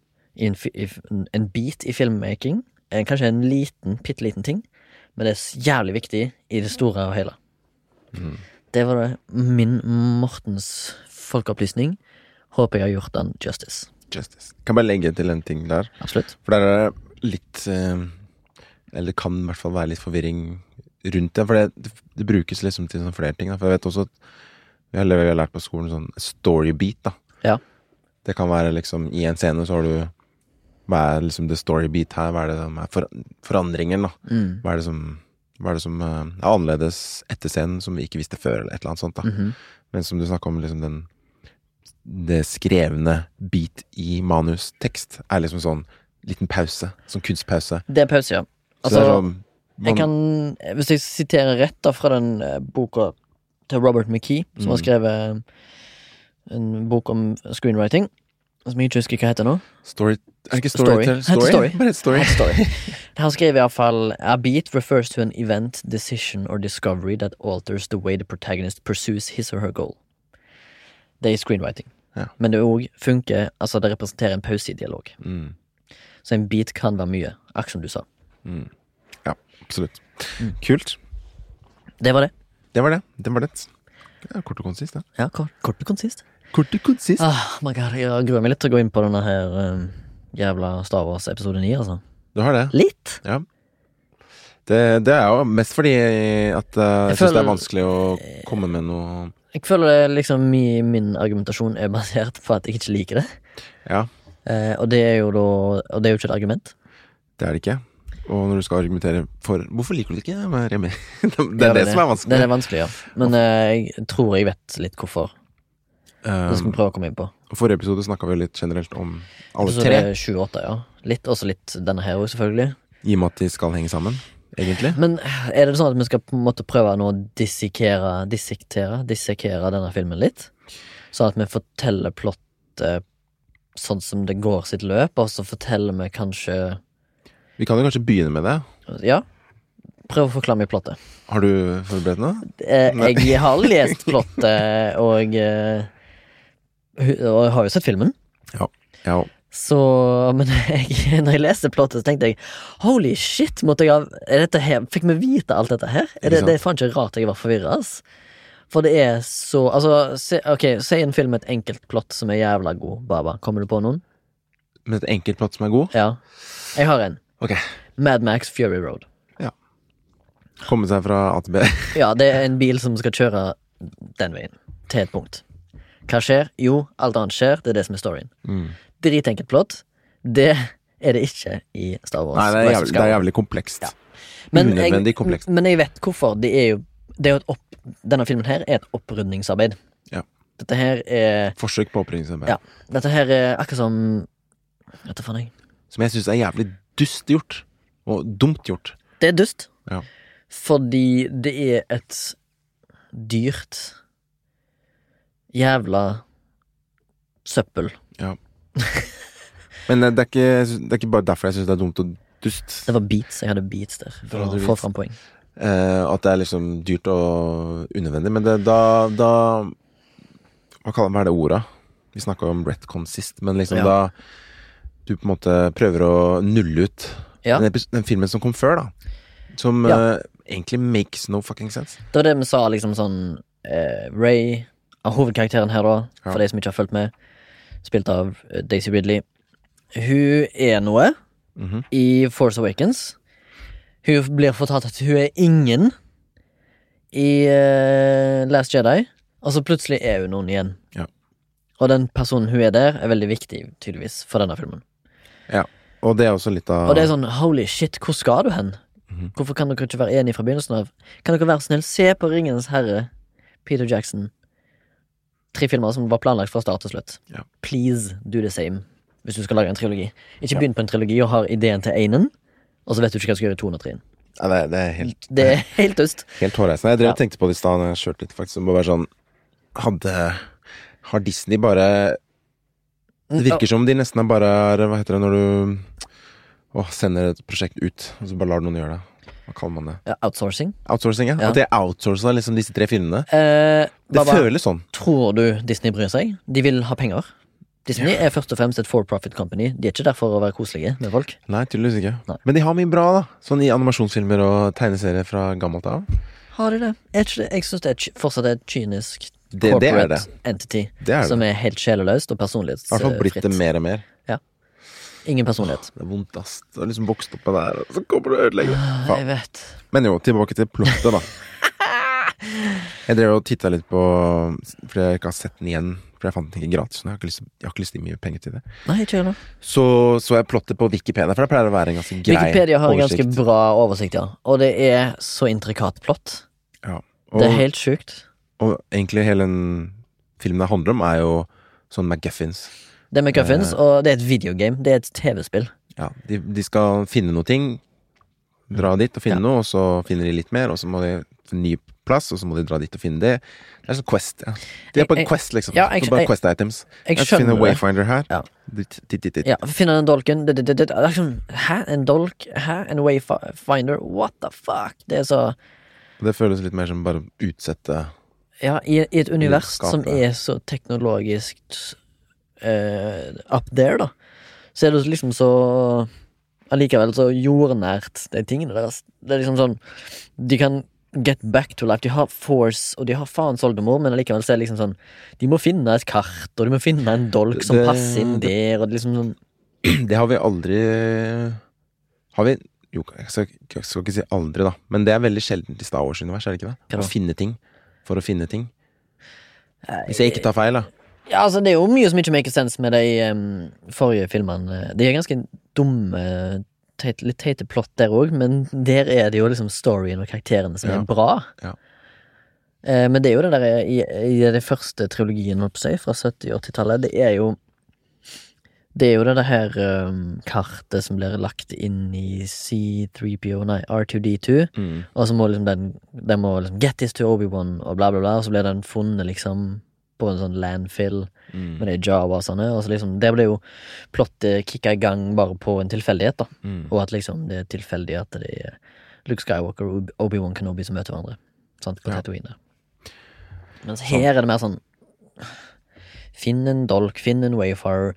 S2: I en, fi- i, f- en- en bit i filmmaking, eh, kanskje en liten, bitte liten ting, men det er s- jævlig viktig i det store og hele.
S1: Mm.
S2: Det var det min Mortens folkeopplysning. Håper jeg har gjort den justice.
S1: Justice. Kan bare legge til en ting der.
S2: Absolutt.
S1: For der er det litt eh, Eller det kan i hvert fall være litt forvirring rundt det. For det, det brukes liksom til sånn flere ting. Da. For jeg vet også at vi har, vi har lært på skolen sånn storybeat. da
S2: Ja.
S1: Det kan være liksom I en scene så har du Hva er liksom the storybeat her? Hva er det som er for, forandringen? da
S2: Mm.
S1: Hva er det som Hva er det som eh, er annerledes etter scenen, som vi ikke visste før, eller et eller annet sånt, da.
S2: Mhm.
S1: Men som du snakka om, liksom den Det skrevne bit i manustekst er liksom sånn liten pause. Sånn kunstpause.
S2: Det er en pause, ja.
S1: Så det
S2: Altså,
S1: er sånn man,
S2: jeg kan, hvis jeg siterer rett da fra den eh, boka til Robert McKee, som har
S1: Mm.
S2: skrevet en bok om screenwriting, som jeg ikke husker hva heter nå.
S1: Story Er det ikke
S2: Story.
S1: storytell?
S2: Heter story.
S1: Bare et story.
S2: Han skriver iallfall A beat refers to an event, decision or discovery that alters the way the protagonist pursues his or her goal. Det er i screenwriting.
S1: Ja.
S2: Men det òg funker Altså, det representerer en pause i dialog.
S1: Mm.
S2: Så en beat kan være mye. Akkurat som du sa.
S1: Ja, absolutt.
S2: Mm.
S1: Kult.
S2: Det var det.
S1: Det var det. Det var det. Ja, kort og konsist, det.
S2: Ja, kort, kort og konsist.
S1: Kort og konsist.
S2: Ah, my god, jeg gruer meg litt til å gå inn på denne her um, jævla Star Wars episode 9, altså.
S1: Du har det.
S2: Litt!
S1: Ja. Det, det er jo mest fordi at eh, jeg, syns det er
S2: Jeg føler-
S1: vanskelig å komme med noe
S2: Jeg føler det liksom mi, min argumentasjon er basert på at jeg ikke liker det.
S1: Ja,
S2: Eh, og det er jo da Og det er jo ikke et argument.
S1: det er det ikke. Og når du skal argumentere for Hvorfor liker du det ikke? Jeg er enig. Det
S2: Ja,
S1: er det som er vanskelig.
S2: Det er det vanskelige, ja. Men eh, jeg tror jeg vet litt hvorfor. Det skal vi prøve å komme inn på.
S1: Eh, forrige episode snakka vi jo litt generelt om alle
S2: Så
S1: tre,
S2: det er 28, ja. Litt, også litt denne her også, selvfølgelig.
S1: i og med at de skal henge sammen, egentlig.
S2: Men er det sånn at vi skal på en måte prøve nå å dissekere, dissektere, dissekere denne filmen litt? Sånn at vi forteller plottet sånn som det går sitt løp, og så forteller vi kanskje
S1: Vi kan jo kanskje begynne med det.
S2: Ja, prøv å forklare meg plottet.
S1: Har du forberedt noe?
S2: Eh,
S1: Nei.
S2: jeg har lest plottet, og, eh, hu- og jeg har jo sett filmen.
S1: Ja.
S2: Så, men jeg, når jeg leste plottet, så tenkte jeg Holy shit, måtte jeg ha er dette her, Fikk vi vite alt dette her?
S1: Ikke
S2: Er det,
S1: sant?
S2: det er faen ikke rart jeg var forvirra, ass. For det er så Altså, se, ok, si en film med et enkelt plott som er jævla god, Baba. Kommer du på noen?
S1: Med et enkelt plott som er god?
S2: Ja. Jeg har en.
S1: Ok.
S2: Mad Max Fury Road.
S1: Komme seg fra A til B.
S2: Ja, det er en bil som skal kjøre den veien. Til et punkt. Hva skjer? Jo, alt annet skjer. Det er det som er storyen.
S1: Mm.
S2: Dritenkelt plott. Det er det ikke i Star Wars.
S1: Nei, det er
S2: Rise of
S1: jævlig, det er
S2: Skywalker.
S1: jævlig komplekst.
S2: Ja. Men
S1: Unødvendig komplekst.
S2: Men jeg vet hvorfor. Det er jo, det er jo et opp, denne filmen her er et opprydningsarbeid.
S1: Ja.
S2: Dette her er
S1: Forsøk på opprydningsarbeid.
S2: Ja. Dette her er akkurat som Vet du faen, jeg.
S1: Som jeg syns er jævlig dust gjort. Og dumt gjort.
S2: Det er dust.
S1: Ja.
S2: Fordi det er et dyrt jævla søppel.
S1: Men eh, det er ikke, jeg synes- det er ikke bare derfor jeg syns det er dumt og dust.
S2: Det var beats. Jeg hadde beats der
S1: Da
S2: for
S1: hadde
S2: å
S1: du
S2: få
S1: beats.
S2: fram poeng.
S1: Eh, at det er liksom dyrt og unødvendig. Men det, da, da Hva kaller man det orda? Vi snakka om retcon sist, men liksom
S2: Ja.
S1: da du på en måte prøver å nulle ut
S2: Ja.
S1: den, epis- den filmen som kom før, da. Som
S2: Ja.
S1: eh, egentlig makes no fucking sense.
S2: Det var det vi sa, liksom sånn eh, Ray, av hovedkarakteren her, da, for
S1: Ja.
S2: de som ikke har fulgt med, spilt av eh, Daisy Ridley. Hun er noe
S1: Mhm.
S2: i Force Awakens. Hun blir fortalt at hun er ingen i eh, Last Jedi, og så plutselig er hun noen igjen.
S1: Ja.
S2: Og den personen hun er der, er veldig viktig, tydeligvis, for denne filmen.
S1: Ja. Og det er også litt av
S2: Og det er sånn, holy shit, hvor skal du hen?
S1: Mhm.
S2: Hvorfor kan dere ikke være enige fra begynnelsen av? Kan dere være snill, se på Ringens Herre, Peter Jackson. Tre filmer som var planlagt fra start til slutt.
S1: Ja.
S2: Please do the same, hvis du skal lage en trilogi. Ikke begynn på en trilogi og har ideen til einen, og så vet du ikke hva du skal gjøre i 203.
S1: ja, det, er- det er helt
S2: Det er helt dust.
S1: Helt hårreisende. Jeg drev
S2: Ja.
S1: og tenkte på det i stad når jeg kjørte litt, faktisk. Det må være sånn Hadde Har Disney bare Det virker som de nesten er bare er Hva heter det når du åh, sender et prosjekt ut, og så bare lar noen gjøre det? Hva kaller man det?
S2: Ja, outsourcing.
S1: Outsourcing, ja.
S2: Ja.
S1: At de outsourca liksom disse tre filmene.
S2: Eh,
S1: Det
S2: Baba,
S1: føles sånn.
S2: tror du Disney bryr seg? De vil ha penger. Disney er først og fremst et for-profit company. De er ikke der for å være koselige med folk.
S1: Nei, tydeligvis ikke.
S2: Nei.
S1: Men de har mye bra, da. Sånn i animasjonsfilmer og tegneserier fra gammelt av.
S2: Har de det? Er ikke det? Jeg syns det er ky- fortsatt er et kynisk
S1: Det- det er
S2: corporate
S1: det.
S2: entity
S1: Det er det.
S2: som er helt sjeleløst og
S1: I hvert fall blitt
S2: personlighetsfritt.
S1: det mer og mer.
S2: Ingen personlighet.
S1: Det er vondt, ass. Du har liksom vokst opp med det her, og så kommer du og ødelegger. Faen.
S2: Jeg vet.
S1: Men jo, tilbake til plottet, da. Jeg drev og titta litt på Fordi jeg ikke har sett den igjen For jeg fant den ikke gratis. nå. Jeg har ikke lyst, jeg har ikke lyst til å gi mye penger til det.
S2: Nei, ikke heller.
S1: Så så jeg plottet på Wikipedia, for det pleier å være en ganske grei
S2: Wikipedia har en ganske
S1: oversikt.
S2: bra oversikt, ja. Og det er så intrikat plott.
S1: Ja.
S2: Det er
S1: Og,
S2: helt sjukt.
S1: og egentlig hele den filmen det handler om, er jo sånn McGuffins.
S2: Det er
S1: Eh.
S2: McGuffins, og det er et videogame. Det er et TV-spill.
S1: Ja, de, de skal finne noe ting, dra dit og finne noe, og så finner de litt mer, og så må de finne en ny plass, og så må de dra dit og finne det. Det er sånn Quest. Ja. De er på
S2: Jeg-
S1: en Quest, liksom.
S2: Ja, jeg-
S1: Det er bare
S2: jeg-
S1: Quest items.
S2: Jeg
S1: Jeg finner
S2: skjønner det.
S1: Wayfinder her.
S2: Ja.
S1: Dit, dit, dit, dit.
S2: Ja, finner den dolken det, det, det, det, det er sånn, Hæ? En dolk? Hæ? En wayfinder? What the fuck? Det er så
S1: Og Det føles litt mer som bare å utsette
S2: Ja, i, i et univers
S1: Skape.
S2: som er så teknologisk eh, up there, da, så er det liksom så Allikevel så jordnært, de tingene deres. Det er liksom sånn De kan get back to life. De har force, og de har faens oldemor, men allikevel så er det liksom sånn De må finne et kart, og de må finne en dolk som
S1: Det-
S2: passer inn
S1: det-
S2: der, og det er liksom sånn
S1: Det har vi aldri Har vi Jo, jeg skal, jeg skal ikke si aldri, da. Men det er veldig sjeldent i Star Wars-universet, er det ikke
S2: Hva
S1: det? Å
S2: da?
S1: finne ting for å finne ting.
S2: Nei,
S1: Hvis jeg ikke tar feil, da.
S2: Ja, altså Det er jo mye som ikke makes sense med de em, forrige filmene. De er ganske dumme, teit, litt teite plott der òg, men der er det jo liksom storyen og karakterene som
S1: Ja.
S2: er bra.
S1: Ja.
S2: Eh, men det er jo det der i, i den første trilogien holdt på å si, fra 70- og 80-tallet, det er jo det er jo det, det her em, kartet som blir lagt inn i C3PO, nei, R2D2.
S1: Mm.
S2: Og så må liksom den Den må liksom Get this to Obi-Wan og bla, bla, bla. Og så blir den funnet liksom på en sånn landfill
S1: Mm.
S2: med de jawasene. Og så liksom Det ble jo plottet kicka i gang bare på en tilfeldighet, da.
S1: Mm.
S2: Og at liksom det er tilfeldig at det er Luke Skywalker og Ob- Obi-Wan Kenobi som møter hverandre. Sant, på
S1: Ja.
S2: Tatooine. Mens her er det mer sånn Finn en dolk, finn en wayfarer,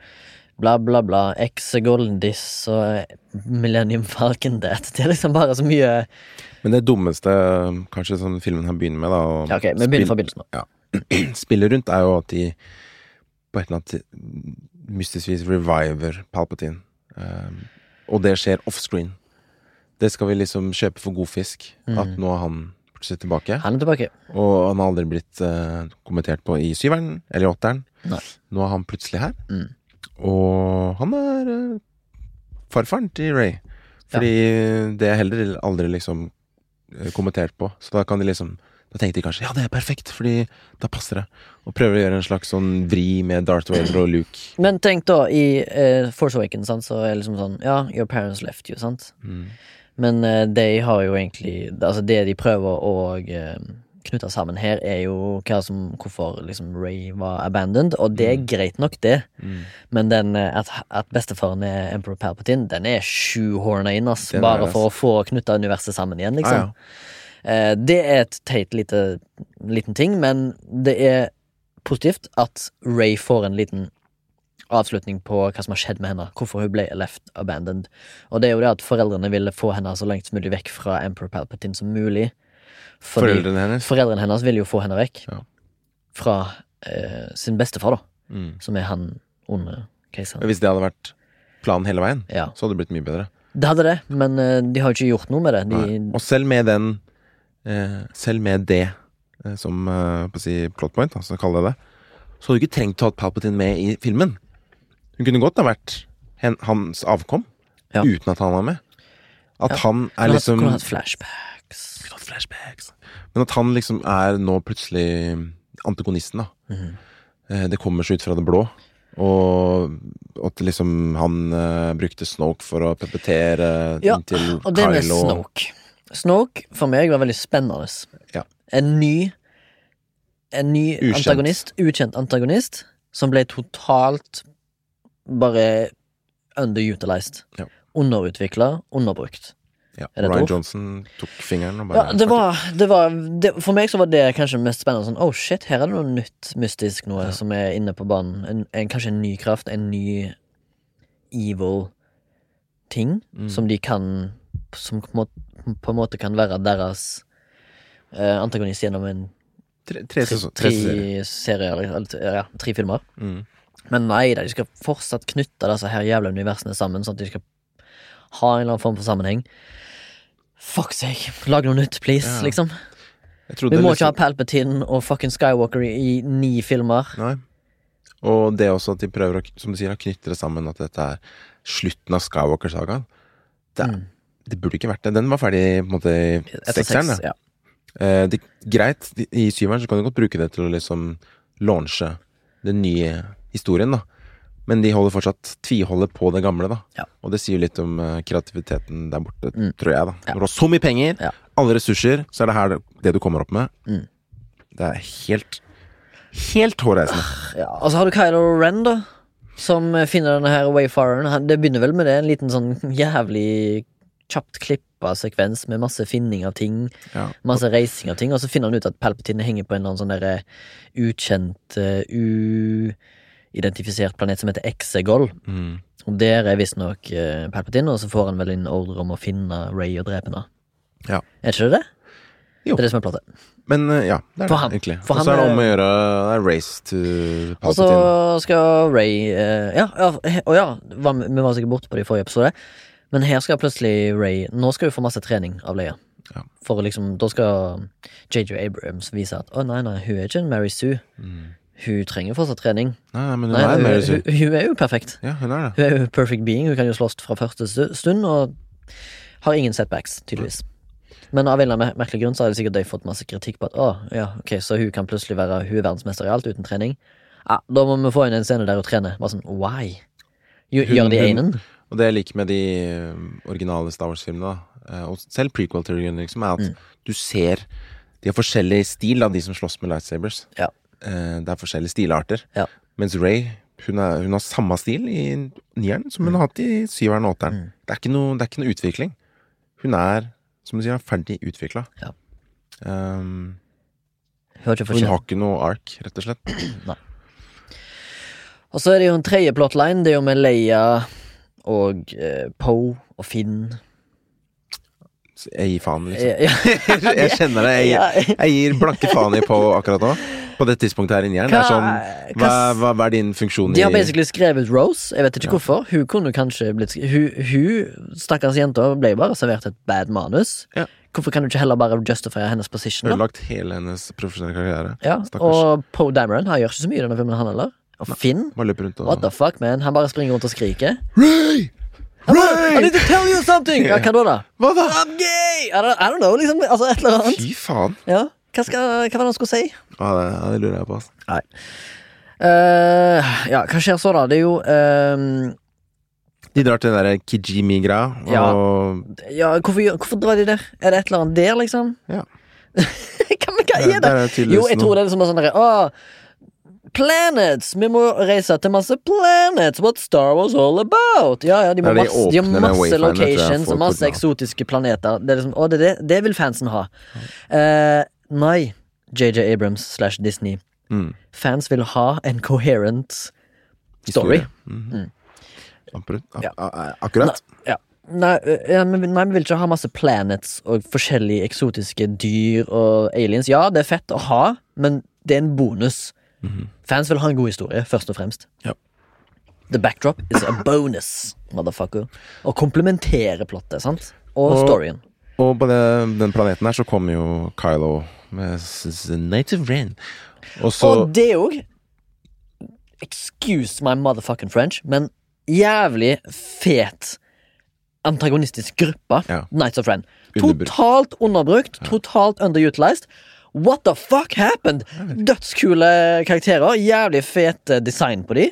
S2: bla, bla, bla. Exegolden this og Millennium Falcon that. Det er liksom bare så mye
S1: Men det dummeste kanskje som filmen her begynner med, da og
S2: Ja, ok, vi begynner fra
S1: spill-
S2: begynnelsen. nå.
S1: spiller rundt, er jo at de på et eller annet ti- mystisk vis reviver Palpatine. Um, og det skjer offscreen. Det skal vi liksom kjøpe for god fisk.
S2: Mm.
S1: At nå er han plutselig tilbake.
S2: Han er tilbake.
S1: Og han har aldri blitt eh, kommentert på i syveren eller i åtteren.
S2: Nei.
S1: Nå er han plutselig her.
S2: Mm.
S1: Og han er eh, farfaren til Ray. Fordi det er heller aldri liksom eh, kommentert på. Så da kan de liksom Da tenkte de kanskje ja, det er perfekt, fordi da passer det. Og prøver å gjøre en slags sånn vri med Darth Vader og Luke.
S2: Men tenk da, i eh, Force Awakens sant, så er det liksom sånn Ja, your parents left you, sant?
S1: Mm.
S2: Men eh, de har jo egentlig Altså, det de prøver å eh, knytte sammen her, er jo hva som, hvorfor liksom Ray var abandoned, og det er greit nok, det.
S1: Mm.
S2: Men den eh, at, at bestefaren er Emperor Palpatine, den er shoehorna inn, ass.
S1: Den er
S2: Bare
S1: det,
S2: for å få knytta universet sammen igjen, liksom.
S1: Ah, ja.
S2: Eh, Det er et teit lite, liten ting, men det er positivt at Ray får en liten avslutning på hva som har skjedd med henne. Hvorfor hun ble left abandoned. Og det er jo det at foreldrene ville få henne så langt som mulig vekk fra Emperor Palpatine som mulig. Fordi foreldrene,
S1: Foreldrene hennes.
S2: hennes ville jo få henne vekk
S1: Ja.
S2: fra eh, sin bestefar, da,
S1: Mm.
S2: som er han onde keiseren.
S1: Hvis det hadde vært planen hele veien,
S2: Ja.
S1: så hadde det blitt mye bedre.
S2: Det hadde det, men eh, de har jo ikke gjort noe med det. De,
S1: Nei. Og selv med den eh, Selv med det eh, som eh, på å si plot point, da, så kaller jeg det, så hadde du ikke trengt å ha Palpatine med i filmen. Hun kunne godt ha vært hen, hans avkom
S2: Ja.
S1: uten at han var med. At han er
S2: kunne hatt-
S1: liksom
S2: kunne hatt flashbacks.
S1: flashbacks. Men at han liksom er nå plutselig antagonisten, da.
S2: Mhm.
S1: Eh, Det kommer så ut fra det blå. Og og at liksom han eh, brukte Snoke for å peppetere
S2: Ja,
S1: inntil
S2: og det med
S1: Kylo.
S2: Snoke. Snoke for meg var veldig spennende.
S1: Ja.
S2: En ny En ny
S1: Ukjent.
S2: antagonist, ukjent antagonist, som ble totalt bare underutilized.
S1: Ja.
S2: Underutvikla, underbrukt.
S1: Ja,
S2: Er det et
S1: Ryan
S2: ord?
S1: Johnson tok fingeren og bare
S2: Ja, det var, det var det, For meg så var det kanskje mest spennende. Sånn, oh shit, her er det noe nytt mystisk noe som er inne på banen. En, en, kanskje en ny kraft, en ny evil ting
S1: Mm.
S2: som de kan Som på en måte, på en måte kan være deres eh, antagonist gjennom en
S1: Tre, tre,
S2: tre,
S1: sesong- tre
S2: tre
S1: serier.
S2: serier, eller, eller ja, tre filmer.
S1: Mm.
S2: Men nei da, de skal fortsatt knytte disse her jævla universene sammen, sånn at de skal ha en eller annen form for sammenheng. Fuck seg, lag noe nytt, please,
S1: Ja.
S2: liksom.
S1: Jeg trodde
S2: Vi må
S1: liksom-
S2: ikke ha Palpatine og fucking Skywalker i, i ni filmer.
S1: Nei. Og det også at de prøver å, som du sier, å knytte det sammen, at dette er slutten av Skywalker-sagaen. Det, er- det burde ikke vært det. Den var ferdig på en måte i
S2: Mm. Etter
S1: sekseren.
S2: seks,
S1: da.
S2: ja.
S1: Eh, det, greit, de- i syveren så kan du godt bruke det til å liksom launche den nye historien, da. Men de holder fortsatt tviholder på det gamle, da.
S2: Ja.
S1: Og det sier jo litt om eh, kreativiteten der borte,
S2: Mm.
S1: tror jeg, da. Når
S2: Ja.
S1: du har så mye penger,
S2: Ja.
S1: alle ressurser, så er det her det- det du kommer opp med.
S2: Mm.
S1: Det er helt Helt hårreisende.
S2: Ja, og så har du Kylo Ren, da. Som finner denne her wayfareren. Han- Det begynner vel med det, en liten sånn jævlig kjapt klippa sekvens med masse finning av ting.
S1: Ja.
S2: Masse reising av ting, og så finner han ut at Palpatine henger på en eller annen sånn derre ukjent, eh, uidentifisert planet som heter Exegol.
S1: Mm.
S2: Og der er visstnok eh, Palpatine, og så får han vel en ordre om å finne Ray og drepe henne.
S1: Ja.
S2: Er ikke det det?
S1: Jo.
S2: Det er det som er plottet.
S1: Men eh, ja, det er
S2: For han-
S1: det, egentlig.
S2: for
S1: Og så
S2: han
S1: er det om
S2: er-
S1: å gjøre det er race to
S2: Og så
S1: Palpatine.
S2: skal Ray eh, Ja, ja, he- å ja var, vi var sikkert borte på det i forrige episode. Men her skal plutselig Ray Nå skal hun få masse trening av Leia.
S1: Ja.
S2: For å liksom, da skal JJ Abrams vise at å nei, nei, hun er ikke en Mary Sue. Hun trenger fortsatt trening.
S1: Nei, nei, men Mm. hun
S2: Nei,
S1: er
S2: hun,
S1: mer
S2: hun, hun er jo perfekt.
S1: Ja, hun er det.
S2: Hun er jo perfect being. Hun kan jo slåss fra første stu- stund, og har ingen setbacks, tydeligvis. Men av en eller annen mer- merkelig grunn så har de sikkert de fått masse kritikk på at å, ja, ok, så hun kan plutselig være hun er verdensmester i alt uten trening. Ja, da må vi få inn en scene der hun trener. Bare sånn, why? Gjør-
S1: Hun-
S2: Gjør de
S1: hun-
S2: einen?
S1: Og det jeg liker med de eh, originale Star Wars-filmene, da, eh, og selv prequel-teorien, liksom, er
S2: Mm.
S1: at du ser De har forskjellig stil, da, de som slåss med lightsabers.
S2: Ja.
S1: Eh, Det er forskjellige stilarter.
S2: Ja.
S1: Mens Ray hun, er, hun har samme stil i nieren som
S2: Mm.
S1: hun har hatt i syveren og åtteren. Det, er ikke noe, det er ikke noe utvikling. Hun er, som du sier, ferdig utvikla.
S2: Ja.
S1: Um,
S2: Hun har
S1: hun
S2: ikke forskjell.
S1: har ikke noe ark, rett og slett.
S2: Og så er det jo en tredje plotline. Det er jo med Leia og eh, Poe og Finn.
S1: Så Jeg gir faen, liksom.
S2: Eh, ja.
S1: Jeg kjenner det.
S2: Ja.
S1: Jeg, jeg gir blanke faen i på akkurat nå. På det tidspunktet her inni her. Det er sånn
S2: Hva-
S1: hva, hva, hva er din funksjon
S2: De
S1: i
S2: har basically skrevet Rose. Jeg vet ikke hvorfor. Hun kunne kanskje blitt sk- Hun, hun stakkars jenta, ble jo bare servert et bad manus.
S1: Ja.
S2: Hvorfor kan du ikke heller bare justifiere hennes position? da?
S1: Ødelagt hele hennes profesjonelle karriere.
S2: Ja,
S1: Stakkars.
S2: og Poe Dameron han gjør ikke så mye i denne filmen, han heller. Og Finn,
S1: Bare løper rundt
S2: what
S1: og
S2: the fuck, man? Han bare springer rundt og skriker.
S1: Ray!
S2: I
S1: Ray!
S2: need to tell you something! Ja, hva da, da?
S1: Hva da?
S2: I'm gay! I don't, I don't know, liksom. Altså, et eller annet.
S1: Fy faen.
S2: Ja. Hva, skal, hva var det han skulle si?
S1: Ja, det, ja, det lurer jeg på, altså.
S2: Nei. Eh, ja, hva skjer så, da? Det er jo eh,
S1: De drar til den derre Kijimi-greia, og
S2: Ja. Ja, hvorfor, gjør- hvorfor drar de der? Er det et eller annet der, liksom?
S1: Ja.
S2: hva, men hva
S1: Der-
S2: er det?
S1: der er tydeligvis
S2: jo, jeg tror
S1: noe.
S2: det er liksom bare sånn derre Å, planets! Vi må reise til masse planets! What Star Wars all about? Ja, ja, de, må
S1: Nei, de
S2: masse, de har
S1: åpner den
S2: masse
S1: wayfinderen, tror jeg,
S2: locations
S1: for
S2: og masse
S1: koordinater.
S2: eksotiske planeter. Det er liksom, å, det, er det, det vil fansen ha. Eh, nei, JJ Abrams slash Disney.
S1: Mm.
S2: Fans vil ha en coherent story.
S1: Historie. Mhm. Akkurat.
S2: Ja.
S1: A- a- Akkurat.
S2: Ja. Nei, ø, ja, men, vi- nei, vi vil ikke ha masse planets og forskjellige eksotiske dyr og aliens. Ja, det er fett å ha, men det er en bonus. Fans vil ha en god historie, først og fremst.
S1: Mhm. Ja.
S2: The backdrop is a bonus, motherfucker. Å komplementere plottet, sant? Og,
S1: Og-
S2: storyen.
S1: Og på det, den planeten her så kommer jo Kylo med s- s- Native Rain. Og så
S2: Og det òg Excuse my motherfucking French, men jævlig fet antagonistisk gruppe.
S1: Ja.
S2: Knights of Ren.
S1: Underbrukt.
S2: Totalt underbrukt, totalt underutilized. What the fuck happened? Dødskule karakterer, jævlig fet eh, design på de.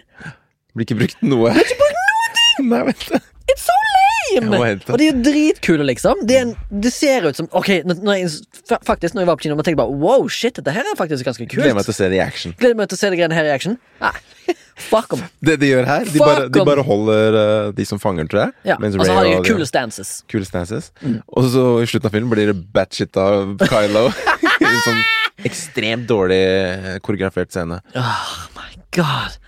S1: blir ikke brukt noe. Blir ikke brukt noe Nei, vent da.
S2: It's so lame!
S1: Ja, hva heter det?
S2: Og de er dritkule, liksom. Det, er en, det ser ut som Ok, når, når jeg, fa- faktisk, når jeg var på kino, tenkte jeg bare wow, shit, dette her er faktisk ganske kult.
S1: Gleder meg til å Ah. se det i action.
S2: Gleder meg til å se de greiene her i action. Nei, fuck 'em.
S1: Det de gjør her, de
S2: Fuck
S1: bare, de
S2: em.
S1: bare holder eh, de som fanger, tror jeg.
S2: Ja, altså,
S1: mens
S2: og så
S1: Ray
S2: har de
S1: og de-
S2: kule stances.
S1: kule stances.
S2: Mm.
S1: Og så i slutten av filmen blir det batshit av Kylo. I en sånn ekstremt dårlig eh, koreografert scene.
S2: Oh my god.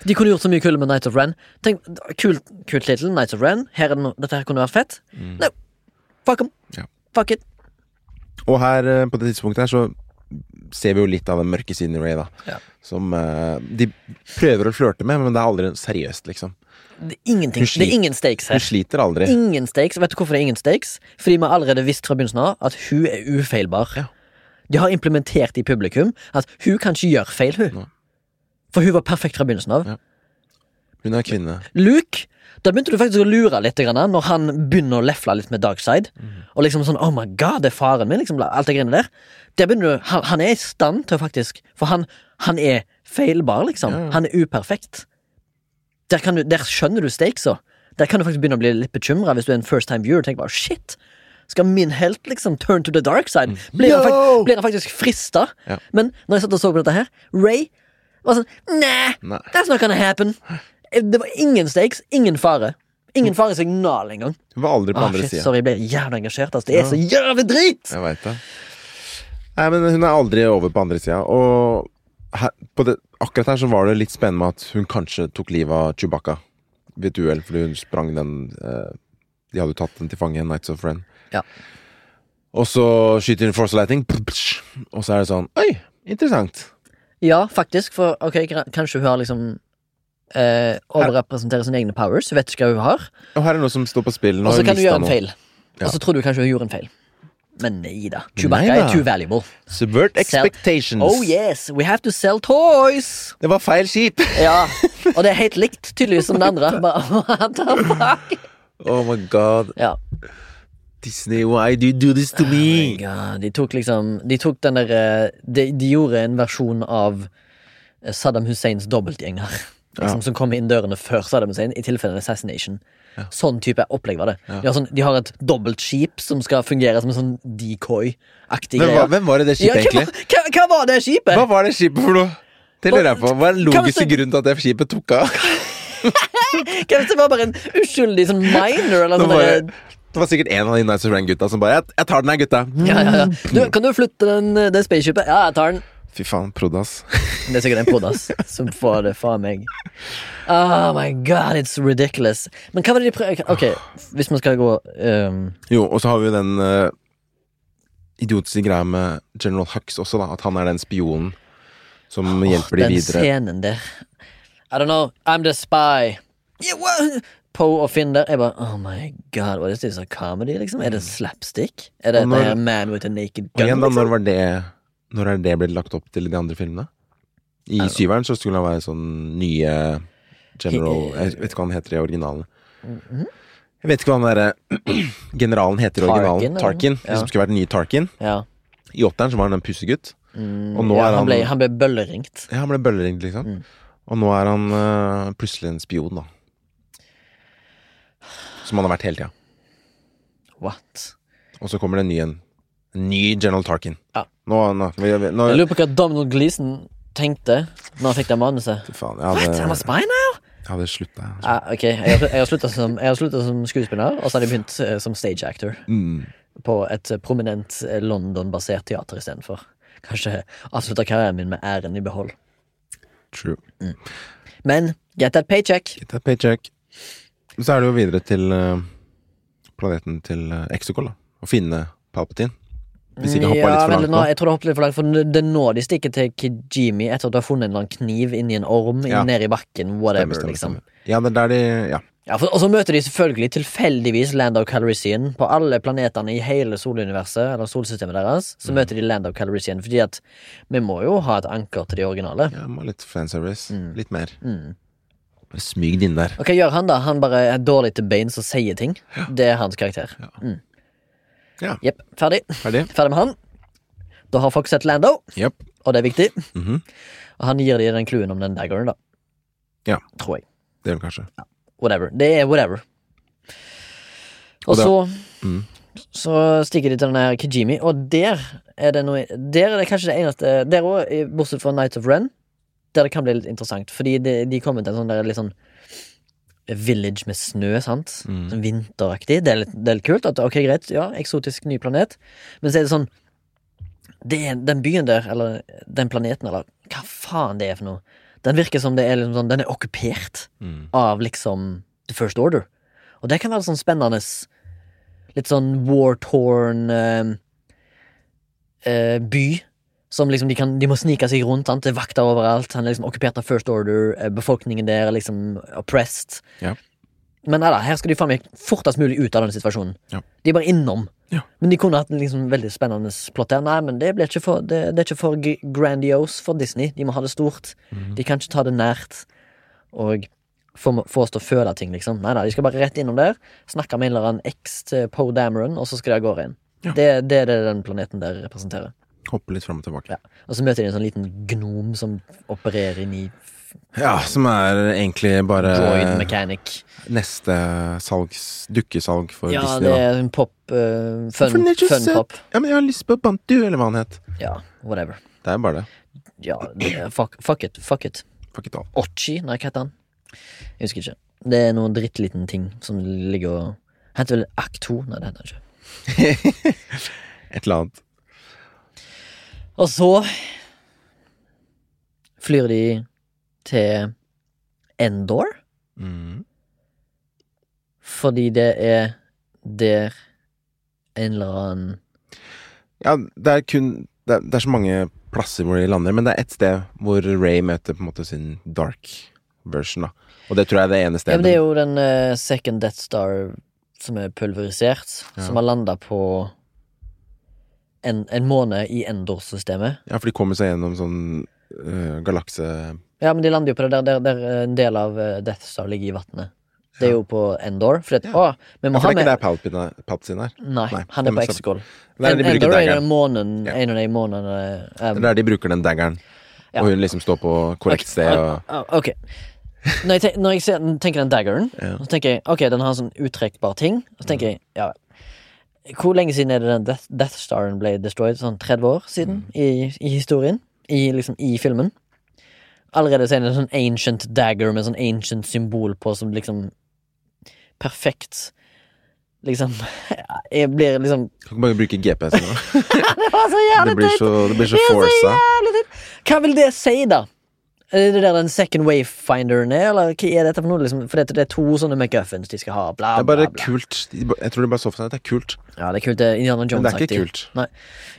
S2: De kunne gjort så mye kule med Night of Ren. Tenk, Kult, kult tittel, Night of Ren. Her er det no, dette her kunne vært fett. No. Fuck 'em.
S1: Mm. Ja.
S2: Fuck it.
S1: Og her eh, på det tidspunktet her så ser vi jo litt av den mørke siden i Ray, da.
S2: Ja.
S1: Som eh, de prøver å flørte med, men det er aldri seriøst, liksom.
S2: Det er ingenting.
S1: Hun
S2: Det er ingen stakes
S1: Hun
S2: her.
S1: sliter aldri.
S2: Ingen stakes. Vet du hvorfor det er ingen stakes? Fordi vi har allerede visst fra begynnelsen av at hun er ufeilbar.
S1: Ja.
S2: De har implementert i publikum at hun kan ikke gjøre feil, hun. For hun var perfekt fra begynnelsen av.
S1: Ja. Hun er kvinne.
S2: Luke, da begynte du faktisk å lure litt grann, når han begynner å lefle litt med Darkside.
S1: Mhm.
S2: Og liksom sånn 'Oh my God, det er faren min', liksom, alt det greiene der. Der begynner du, han, han er i stand til å faktisk For han, han er feilbar, liksom.
S1: Ja, ja.
S2: Han er uperfekt. Der, kan du, der skjønner du stakesa. Der kan du faktisk begynne å bli litt bekymra hvis du er en first time viewer. Tenk bare, shit skal min helt liksom turn to the dark side? Blir, han,
S1: No!
S2: fakt blir han faktisk frista?
S1: Mm. Ja.
S2: Men når jeg satt og så på dette her, Ray var sånn Næh!
S1: Nei.
S2: That's not gonna happen. Det var ingen stakes, ingen fare. Ingen faresignal engang.
S1: Hun var aldri på
S2: Ah,
S1: andre
S2: shit,
S1: sida.
S2: sorry, jeg ble jævla engasjert. Altså. Det er så jævlig drit!
S1: Jeg veit det. Nei, men hun er aldri over på andre sida. Og her, på det, akkurat her så var det litt spennende med at hun kanskje tok livet av Chewbacca ved et uhell, fordi hun sprang den eh, De hadde jo tatt den til fange, Nights of Ren.
S2: Ja.
S1: Og så skyter hun Force Lighting, og så er det sånn Oi, interessant.
S2: Ja, faktisk, for ok, gra- kanskje hun har liksom eh, overrepresenterer sine egne powers. Hun vet ikke hva hun har.
S1: Og her er noe som står på spill. nå
S2: Og
S1: har
S2: så
S1: hun
S2: kan hun
S1: mistet
S2: gjøre en
S1: noe.
S2: feil.
S1: Ja.
S2: Og så tror du kanskje hun gjorde en feil. Men nei da.
S1: Nei
S2: Chewbacca
S1: da. Mm.
S2: er too valuable.
S1: Subvert
S2: Sell-
S1: expectations.
S2: Oh yes, we have to sell toys!
S1: Det var feil skip!
S2: Ja, Og det er helt likt, tydeligvis, som det andre. Bare, what the fuck?
S1: Oh my god.
S2: Ja.
S1: Disney, why do you do this to me?
S2: Ja, de tok liksom De tok den derre de, de gjorde en versjon av eh, Saddam Husseins dobbeltgjenger. Liksom, Som kom inn dørene før Saddam Hussein, i tilfelle en assassination. Sånn type opplegg var det. De, har sånn, de har et dobbeltskip som skal fungere som en sånn decoy-aktig
S1: Men
S2: greie.
S1: hva, hvem var det det
S2: Ja,
S1: skipet,
S2: hva,
S1: egentlig?
S2: hva, hva var det skipet?
S1: Hva var det skipet for noe? Det lurer jeg på. Hva er den
S2: Kan vi
S1: logiske
S2: se-
S1: grunnen til at det skipet tok av?
S2: Kanskje det var bare en uskyldig sånn minor? Eller
S1: Det
S2: sånn
S1: var,
S2: derre-
S1: det var sikkert en av de Nights of Rain-gutta som bare jeg, 'Jeg tar den her, gutta'.
S2: Ja, ja, ja. Du, kan du flytte den, eh, det spaceshipet? Ja, jeg tar den.
S1: Fy faen, prod, ass.
S2: Det er sikkert en podas som får det fra meg. Oh my god, it's ridiculous. Men hva var det de prøvde Ok, hvis man skal gå ehm,
S1: Jo, og så har vi jo den eh, idiotiske greia med General Hux også, da. At han er den spionen som hjelper de
S2: Den
S1: videre.
S2: scenen der. I don't know, I'm the spy. Yeah, what? Poe og Finn der. Jeg bare Oh my god, what is this a comedy, liksom? Er det slapstick? Er det
S1: Og når-
S2: det her Man with a naked
S1: Og
S2: gun?
S1: igjen, da,
S2: Liksom?
S1: når var det Når er det blitt lagt opp til de andre filmene? I syveren så skulle han være sånn nye General Jeg vet ikke hva han heter i originalen. Jeg vet ikke hva han derre generalen heter i
S2: Mhm. Tarkin,
S1: originalen.
S2: eller?
S1: Tarkin.
S2: Ja.
S1: De som skulle vært den nye Tarkin.
S2: Ja.
S1: I åtteren så var han en pussegutt. Og nå
S2: Mm, ja,
S1: er
S2: han,
S1: han
S2: ble, Mm. han ble bølleringt.
S1: Ja, han ble bølleringt, liksom. Og nå er han øh, plutselig en spion, da. Som han har vært hele tida.
S2: What?
S1: Og så kommer det en ny en. En ny General Tarkin.
S2: Ja.
S1: Nå, nå, vi- vi- nå
S2: Jeg lurer på hva Donald Gleason tenkte når han fikk det manuset.
S1: Faen,
S2: What?
S1: jeg
S2: I'm a
S1: hadde,
S2: spy now?
S1: jeg hadde slutta. jeg.
S2: Ja, Ah, ok, jeg har, jeg har slutta som, jeg har sluttet som skuespiller, og så har jeg begynt eh, som stage actor.
S1: Mm,
S2: På et eh, prominent eh, London-basert teater istedenfor. Kanskje avslutta karrieren min med æren i behold.
S1: True.
S2: Men get that paycheck!
S1: Get that paycheck. Så er det jo videre til øh, planeten til uh, Exocol, da. Å finne Palpatine. Hvis ikke hoppa litt for
S2: vent
S1: langt
S2: litt
S1: nå.
S2: nå, jeg tror det hoppet litt for langt, for det- det er nå de stikker til Kijimi etter at du har funnet en eller annen kniv inni en orm
S1: Ja.
S2: nede i bakken. Whatever,
S1: Stemmer, stemmer,
S2: liksom.
S1: stemmer. Ja, det er der de Ja.
S2: Ja, for, og så møter de selvfølgelig tilfeldigvis Lando Calrissian på alle planetene i hele soluniverset, eller solsystemet deres.
S1: Mm.
S2: Så møter de Lando Calrissian, fordi at vi må jo ha et anker til de originale.
S1: ja må ha litt fanservice. Litt mer. Mm. Bare Smyg det inn der.
S2: Og hva gjør han, da? Han bare er dårlig til beins og sier ting. Det er hans karakter. Mm.
S1: Ja.
S2: Jepp. Ferdig.
S1: Ferdig.
S2: Ferdig med han. Da har folk sett Lando,
S1: Jepp.
S2: og det er viktig.
S1: Mhm.
S2: Og han gir dem den clouen om den daggeren, da.
S1: Ja.
S2: Tror jeg.
S1: Det gjør den kanskje.
S2: Whatever. Det er whatever. Og
S1: Og da- Mm.
S2: så Så stikker de til den her Kijimi, og der er det noe Der er det kanskje det eneste Der òg, bortsett fra Nights of Ren, der det kan bli litt interessant. Fordi de, de kommer til en sånn der litt sånn village med snø, sant?
S1: Mm.
S2: Sånn Vinteraktig. Det er litt, det er litt kult. At, ok, greit, ja, eksotisk ny planet. Men så er det sånn det er, Den byen der, eller den planeten, eller hva faen det er for noe, den virker som det er liksom sånn Den er okkupert
S1: Mm.
S2: av liksom The First Order. Og det kan være sånn spennende Litt sånn war-torn eh, eh, by. Som liksom de, kan, de må snike seg rundt. Sant? Det er vakter overalt. Han er liksom okkupert av First Order. eh, Befolkningen der er liksom oppressed.
S1: Ja.
S2: Men nei da, her skal de faen meg fortest mulig ut av denne situasjonen.
S1: Ja.
S2: De er bare innom.
S1: Ja.
S2: Men de kunne hatt en liksom veldig spennende plott her. Nei, men det, ble ikke for, det, det er ikke for g- grandiose for Disney. De må ha det stort.
S1: Mhm.
S2: De kan ikke ta det nært og få, få oss til å føle ting, liksom. Nei da, de skal bare rett innom der, snakke med en eller annen X til Poe Dameron, og så skal de av gårde inn.
S1: Ja.
S2: Det, det er det den planeten der representerer.
S1: Hoppe litt fram og tilbake.
S2: Ja. Og så møter de en sånn liten gnom som opererer inn i
S1: Ja, som er egentlig bare
S2: droid mechanic.
S1: neste salgs, dukkesalg for
S2: Ja,
S1: Disney.
S2: det
S1: da.
S2: er en pop eh, Fun,
S1: For den er så
S2: fun
S1: søt.
S2: pop.
S1: Ja, men jeg har lyst på Bantu, eller hva han het.
S2: Ja, whatever.
S1: Det er bare det.
S2: Ja, det- fuck, fuck it. Fuck it.
S1: Fuck it all.
S2: Ochi, nei, hva heter han? Jeg husker ikke. Det er noen drittliten ting som ligger og Heter vel Act 2? Nei, det heter han ikke.
S1: Et eller annet.
S2: Og så flyr de til Endor,
S1: Mm.
S2: fordi det er der en eller annen
S1: Ja, det er kun det er, det er så mange plasser hvor de lander, men det er ett sted hvor Ray møter på en måte sin dark version, da. Og det tror jeg er det ene
S2: Ja,
S1: stedet.
S2: men det er jo den eh, second Death Star som er pulverisert,
S1: Ja.
S2: som har landa på en, en måned i Endor-systemet.
S1: Ja, for de kommer seg gjennom sånn øh, galakse...
S2: Ja, men de lander jo på det der, der, der en del av eh, Death Star ligger i vannet. Det er jo på Endor. Fordi at,
S1: Ja.
S2: å, vi
S1: Ja, for det
S2: må ha
S1: er ikke
S2: med
S1: der Palpatine, Palpatine er.
S2: Nei,
S1: Nei,
S2: han
S1: det
S2: er
S1: må
S2: på
S1: stoppe.
S2: Exegol.
S1: Det er der de bruker
S2: Endor er
S1: daggeren.
S2: den måneden,
S1: Ja.
S2: en av de månedene eh,
S1: Det er der de bruker den daggeren,
S2: Ja.
S1: og hun liksom står på korrekt
S2: Ok,
S1: sted og
S2: ah, ah, Ok. Når jeg, ten- når jeg ser, tenker den daggeren,
S1: Ja.
S2: så tenker jeg ok, den har en sånn uttrekkbar ting. Og så tenker jeg ja vel. Hvor lenge siden er det den Death, Death Staren ble destroyed? Sånn 30 år siden
S1: Mm.
S2: i, i historien? I, liksom, I filmen? Allerede så er det en sånn ancient dagger med sånn ancient symbol på som liksom Perfekt. Liksom Jeg blir liksom
S1: Kan ikke bare bruke GPS-en nå.
S2: Det var så
S1: Det
S2: jævlig
S1: blir
S2: teit!
S1: så, det blir så
S2: Det er så
S1: forsa.
S2: jævlig dritt. Hva vil det si, da? Er det der den second wayfinderen er, eller hva er dette for noe? Liksom? For det, det er to sånne McGuffins de skal ha, bla,
S1: Det er
S2: bla,
S1: bare
S2: bla.
S1: kult. De ba- Jeg tror de bare så for seg at det er kult.
S2: Ja, det er kult. Det er Indiana
S1: Men det er
S2: Jones-aktig.
S1: ikke kult.
S2: Nei.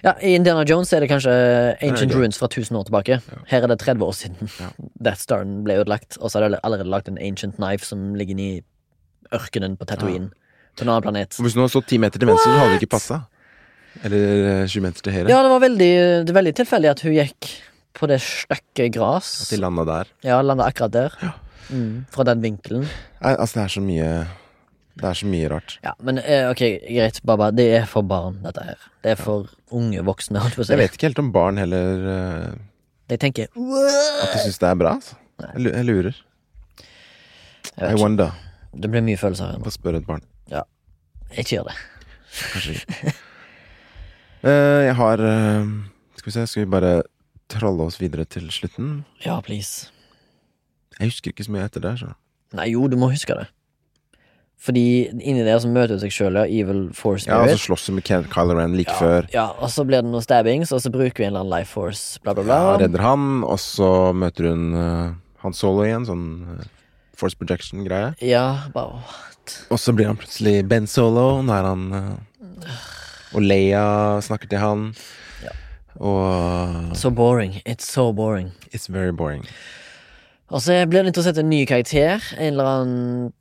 S2: Ja, I Indiana Jones er det kanskje Ancient
S1: greit.
S2: Ruins fra 1000 år tilbake. Her er det 30 år siden
S1: Ja.
S2: Death Staren ble ødelagt, og så er det allerede lagt en Ancient Knife som ligger inni ørkenen på Tatooine. På en annen planet.
S1: For Hvis du hadde stått ti meter til venstre, så hadde det ikke passa. Eller eh, 20 meter til høyre.
S2: Ja, det var veldig, det er veldig tilfeldig at hun gikk på det stykket gras.
S1: At de landa der.
S2: Ja, landa akkurat der. Mm, fra den vinkelen.
S1: Nei, altså, det er så mye Det er så mye rart.
S2: Ja, men eh, ok, greit, Baba. Det er for barn, dette her. Det er for unge voksne. holdt på å si.
S1: Jeg vet ikke helt om barn heller eh,
S2: De tenker "Uh,
S1: at de syns det er bra, altså. Jeg lu- jeg lurer.
S2: Jeg
S1: I
S2: vet ikke.
S1: wonder.
S2: Det blir mye følelser her nå.
S1: Få spørre et barn.
S2: Ikke gjør det.
S1: Kanskje ikke. Eh, jeg har eh, Skal vi se, skal vi bare trolle oss videre til slutten?
S2: Ja, please.
S1: Jeg husker ikke så mye etter det. Så.
S2: Nei, jo, du må huske det. Fordi inni der så møter hun seg sjøl, ja. Evil Force
S1: Ja, og så
S2: Spirit.
S1: slåss hun med Ken- Kylo Ren like før.
S2: Ja, og så blir det noen stabbings, og så bruker vi en eller annen life force, bla, bla, bla.
S1: Ja, redder han, og så møter hun eh, Han Solo igjen, sånn eh, force projection-greie.
S2: ja bare what?
S1: Og så blir han plutselig Ben Solo, og nå er han eh, Og Leia snakker til han.
S2: Mm. Ja.
S1: Og
S2: So boring. It's so boring.
S1: It's very boring.
S2: Og så Altså, blir det interessant en ny karakter. En eller annen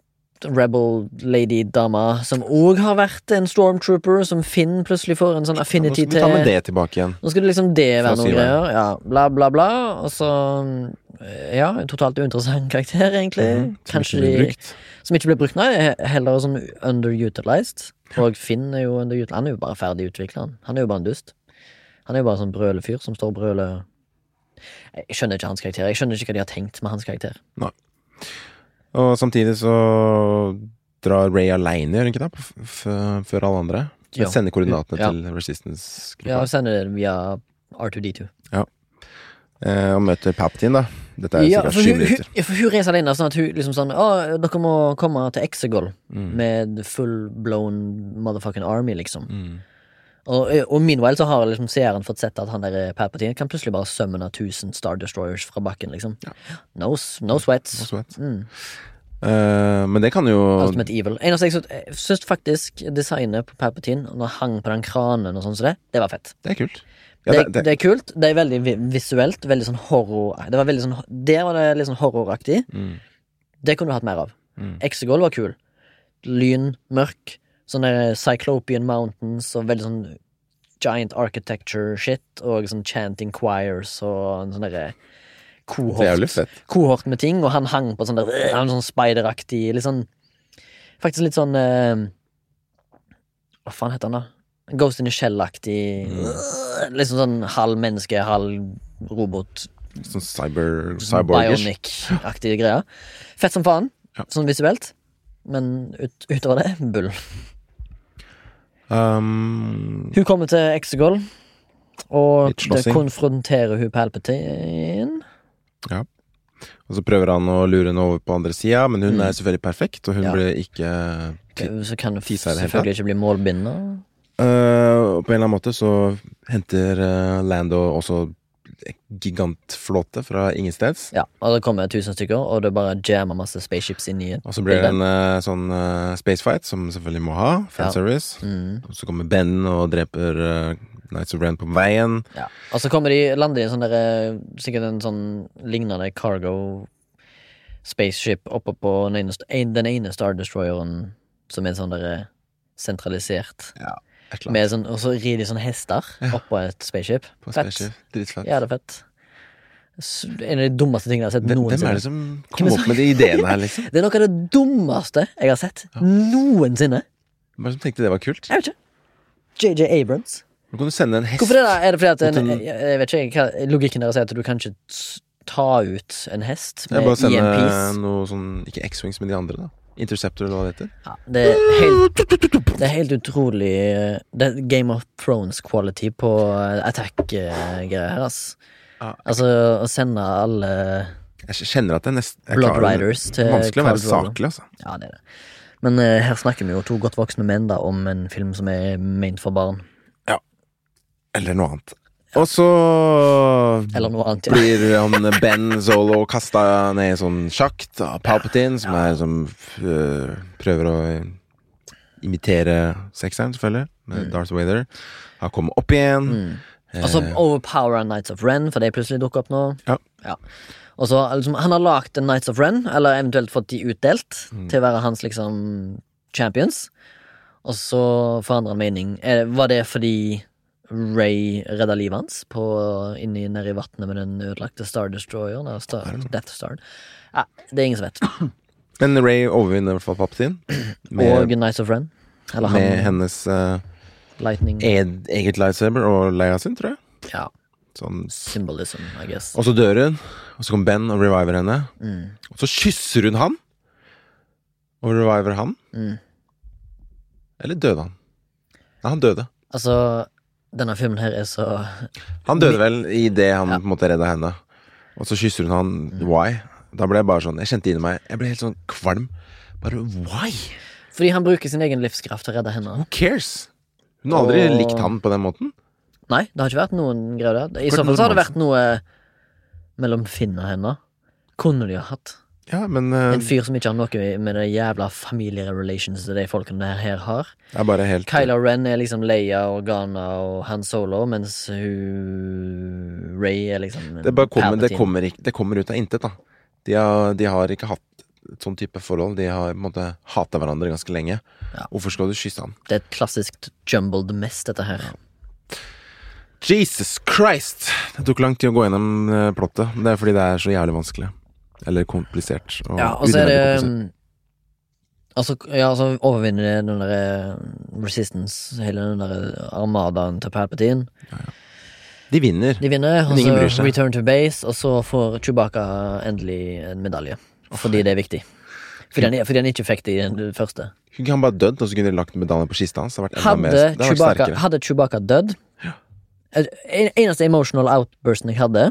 S2: rebel lady-dame som òg har vært en stormtrooper, som Finn plutselig får en
S1: Ja,
S2: sånn
S1: nå skal
S2: affinity
S1: vi
S2: til.
S1: ta med det tilbake igjen.
S2: Nå skal det liksom det
S1: Fra
S2: være noen
S1: syveren.
S2: greier. Ja, bla, bla, bla. Og så eh, Ja, en totalt uinteressant karakter, egentlig.
S1: Mhm, som
S2: Eh, Kanskje
S1: ikke blir
S2: de
S1: brukt.
S2: Som ikke ble brukt, nei. he- Heller som underutilized. Og Finn er jo underutilized. Han er jo bare ferdig utviklet, han. Han er jo bare en dust. Han er jo bare en sånn brølefyr som står og brøler Jeg skjønner ikke hans karakter. Jeg skjønner ikke hva de har tenkt med hans karakter.
S1: Og samtidig så drar Ray aleine, gjør hun ikke det? På f f før alle andre? Men
S2: Ja.
S1: sender koordinatene
S2: Ja.
S1: til Resistance
S2: Ja,
S1: gruppa
S2: og sender det via R2D2.
S1: eh, og møter Palpatine, da. Dette er
S2: Ja,
S1: sikkert
S2: for
S1: sju
S2: hun, hun,
S1: minutter.
S2: ja, for hun reiser alene, sånn at hun liksom sånn Å, dere må komme til Exegol
S1: Mm.
S2: med full blown motherfucking army, liksom.
S1: Mm.
S2: Og, og meanwhile så har liksom seeren fått sett at han der Palpatine kan plutselig bare summone 1000 Star Destroyers fra bakken, liksom. No, s- no
S1: Og
S2: sweats.
S1: så vet.
S2: Mm.
S1: Eh, men det kan jo
S2: Ultimate evil. Eneste jeg syns- jeg syns faktisk designet på Palpatine, når han hang på den kranen og sånn som det, det var fett.
S1: Det er kult. Ja, det, det,
S2: er kult. Det er veldig vi- visuelt. Veldig sånn horror Det var veldig sånn Der var det Eh, litt sånn horroraktig.
S1: Mm.
S2: Det kunne du hatt mer av.
S1: Mm.
S2: Exegol var kul. lyn, mørk. Sånn der Cyclopean Mountains og veldig sånn giant architecture-shit. Og sånn chanting choirs og en sånn derre
S1: Det er jo litt
S2: kohort,
S1: fett.
S2: kohort med ting. Og han hang på sånn der han var sånn spideraktig, litt sånn Faktisk litt sånn eh, Hva faen heter han, da? Ghost in a Shell-aktig. Liksom sånn halv menneske, halv robot
S1: Sånn cyber,
S2: sånn
S1: cyborgish.
S2: Bionic-aktige greier. Fett som faen,
S1: Ja.
S2: sånn visuelt. Men ut, utover det, bull.
S1: Um,
S2: Hun kommer til Exegol, og
S1: Litt
S2: det
S1: slåssing.
S2: konfronterer hun Palpatine.
S1: og så prøver han å lure henne over på andre sida, men hun
S2: Mm.
S1: er selvfølgelig perfekt, og hun
S2: Ja.
S1: ble ikke
S2: Så kan hun f-
S1: Tisa er det helt
S2: selvfølgelig ikke bli målbinder.
S1: Eh, og på en eller annen måte så henter eh, Lando også gigantflåte fra ingensteds.
S2: Ja, og det kommer tusen stykker, og det bare jammer masse spaceships inn i et
S1: Og så blir det
S2: bilde.
S1: en eh, sånn eh, spacefight, som selvfølgelig må ha. Fanservice.
S2: Mm,
S1: Og så kommer Ben og dreper eh, Knights of Ren på veien.
S2: ja. Og så kommer de, lander de i en sånn derre Sikkert en sånn lignende cargo spaceship oppe på den ene, en- den ene Star Destroyeren, som er sånn derre sentralisert.
S1: Et eller annet
S2: Med sånn, og så rir de sånne hester oppå et spaceship.
S1: på
S2: Fett.
S1: spaceship. Dritfett.
S2: Ja, det er fett. S- En av de dummeste tingene jeg har sett
S1: Hvem- Hvem
S2: noensinne.
S1: er
S2: Det,
S1: det som
S2: Hvem
S1: kom
S2: er det
S1: opp med de ideene her, liksom?
S2: er noe av det dummeste jeg har sett noensinne.
S1: Hvem er det som tenkte det var kult?
S2: Jeg vet ikke. JJ Abrams.
S1: Nå kan du sende en hest
S2: Hvorfor det da? Er det fordi at en,
S1: Uten-
S2: jeg, jeg vet ikke, hva, Logikken deres er at du kan ikke s- ta ut en hest
S1: Jeg
S2: med E
S1: bare
S2: i en
S1: sende
S2: piece.
S1: noe sånn Ikke X-Wings, men de andre, da. Interceptor eller hva det heter.
S2: Ja, det, er helt, det er helt utrolig eh, Det er Game of Thrones-quality på eh, attack-greier her, ass.
S1: Ja.
S2: Altså, å sende alle
S1: Jeg kjenner at det er nesten jeg
S2: Blood
S1: klarer-
S2: Riders eh, til
S1: Vanskelig å være
S2: Khal Drogo.
S1: saklig, altså.
S2: Ja, det er det. Men eh, her snakker vi jo to godt voksne menn da om en film som er ment for barn.
S1: Eller noe annet. Og så
S2: Eller noe annet. Ja.
S1: blir han Ben Zolo kasta ned i en sånn sjakt av Palpatine, som er som øh, prøver å imitere sekseren, selvfølgelig, med
S2: Mm.
S1: Darth Vader. Han kommer opp igjen.
S2: Og så overpower han Nights of Ren, for de plutselig dukker opp nå.
S1: Eh. Ja.
S2: Og så liksom, Han har lagd en Nights of Ren, eller eventuelt fått de utdelt
S1: Mm.
S2: til å være hans liksom champions. Og så forandrer han mening. Eh, Var det fordi Ray redda livet hans på, inni, nede i vannet med den ødelagte Star Destroyeren? Eller Star, Death Star? Ja, det er ingen som vet.
S1: Men Ray overvinner i hvert fall Palpatine med,
S2: Og Nights of Ren. Eller
S1: med Eh.
S2: han,
S1: hennes øh,
S2: Lightning.
S1: ed, eget lightsaber og Leia sin, tror jeg.
S2: Ja,
S1: Sånn.
S2: symbolism, I guess.
S1: Og så dør hun, og så kommer Ben og reviver henne.
S2: Mm.
S1: Og så kysser hun han, og reviver han.
S2: Mm.
S1: Eller døde han? Nei, han døde.
S2: Altså, denne filmen her er så
S1: Han døde vel idet han
S2: Ja. Mm.
S1: på en måte redda henne. Og så kysser hun han. Why? Da ble jeg bare sånn Jeg kjente inni meg Jeg ble helt sånn kvalm. Bare why?
S2: Fordi han bruker sin egen livskraft til å redde henne.
S1: Who cares? Hun har aldri
S2: Og-
S1: likt han på den måten.
S2: Nei, det har ikke vært noen greier der. I
S1: Vært
S2: så fall
S1: noen
S2: så har det vært
S1: romanse.
S2: noe eh, mellom Finn og henne. Kunne de ha hatt.
S1: Ja, men eh,
S2: En fyr som ikke har noe med det jævla familierelations til de folkene der her har.
S1: det er bare helt
S2: Kylo Ren er liksom Leia og Ghana og Han Solo, mens hun Ray er liksom
S1: det, bare kommer, det,
S2: Palpatine.
S1: kommer ikke, det kommer ut av intet, da. De har, de har ikke hatt et sånn type forhold. De har på en måte hata hverandre ganske lenge.
S2: Ja.
S1: Hvorfor skal du kysse han?
S2: Det er et klassisk jumbled mess, dette her.
S1: Jesus Christ! Det tok lang tid å gå gjennom eh, plottet. men Det er fordi det er så jævlig vanskelig. Eller komplisert. Og
S2: Ja, og så er
S1: unødvendig
S2: det
S1: komplisert.
S2: um, Altså, ja, så overvinner det den der um, Resistance, hele den der uh, armadaen til Palpatine.
S1: De vinner.
S2: De vinner, og
S1: Men ingen bryr
S2: så
S1: seg.
S2: return to base, og så får Chewbacca endelig en medalje. Fordi det er viktig. Fordi han, fordi han ikke fikk det i den første.
S1: Kunne han bare dødd, og så kunne de lagt medaljen på kista hans? Det hadde vært enda mer, det hadde
S2: Hadde
S1: vært
S2: Chewbacca,
S1: sterkere.
S2: hadde Chewbacca dødd Eh, En Eneste emotional outbursten jeg hadde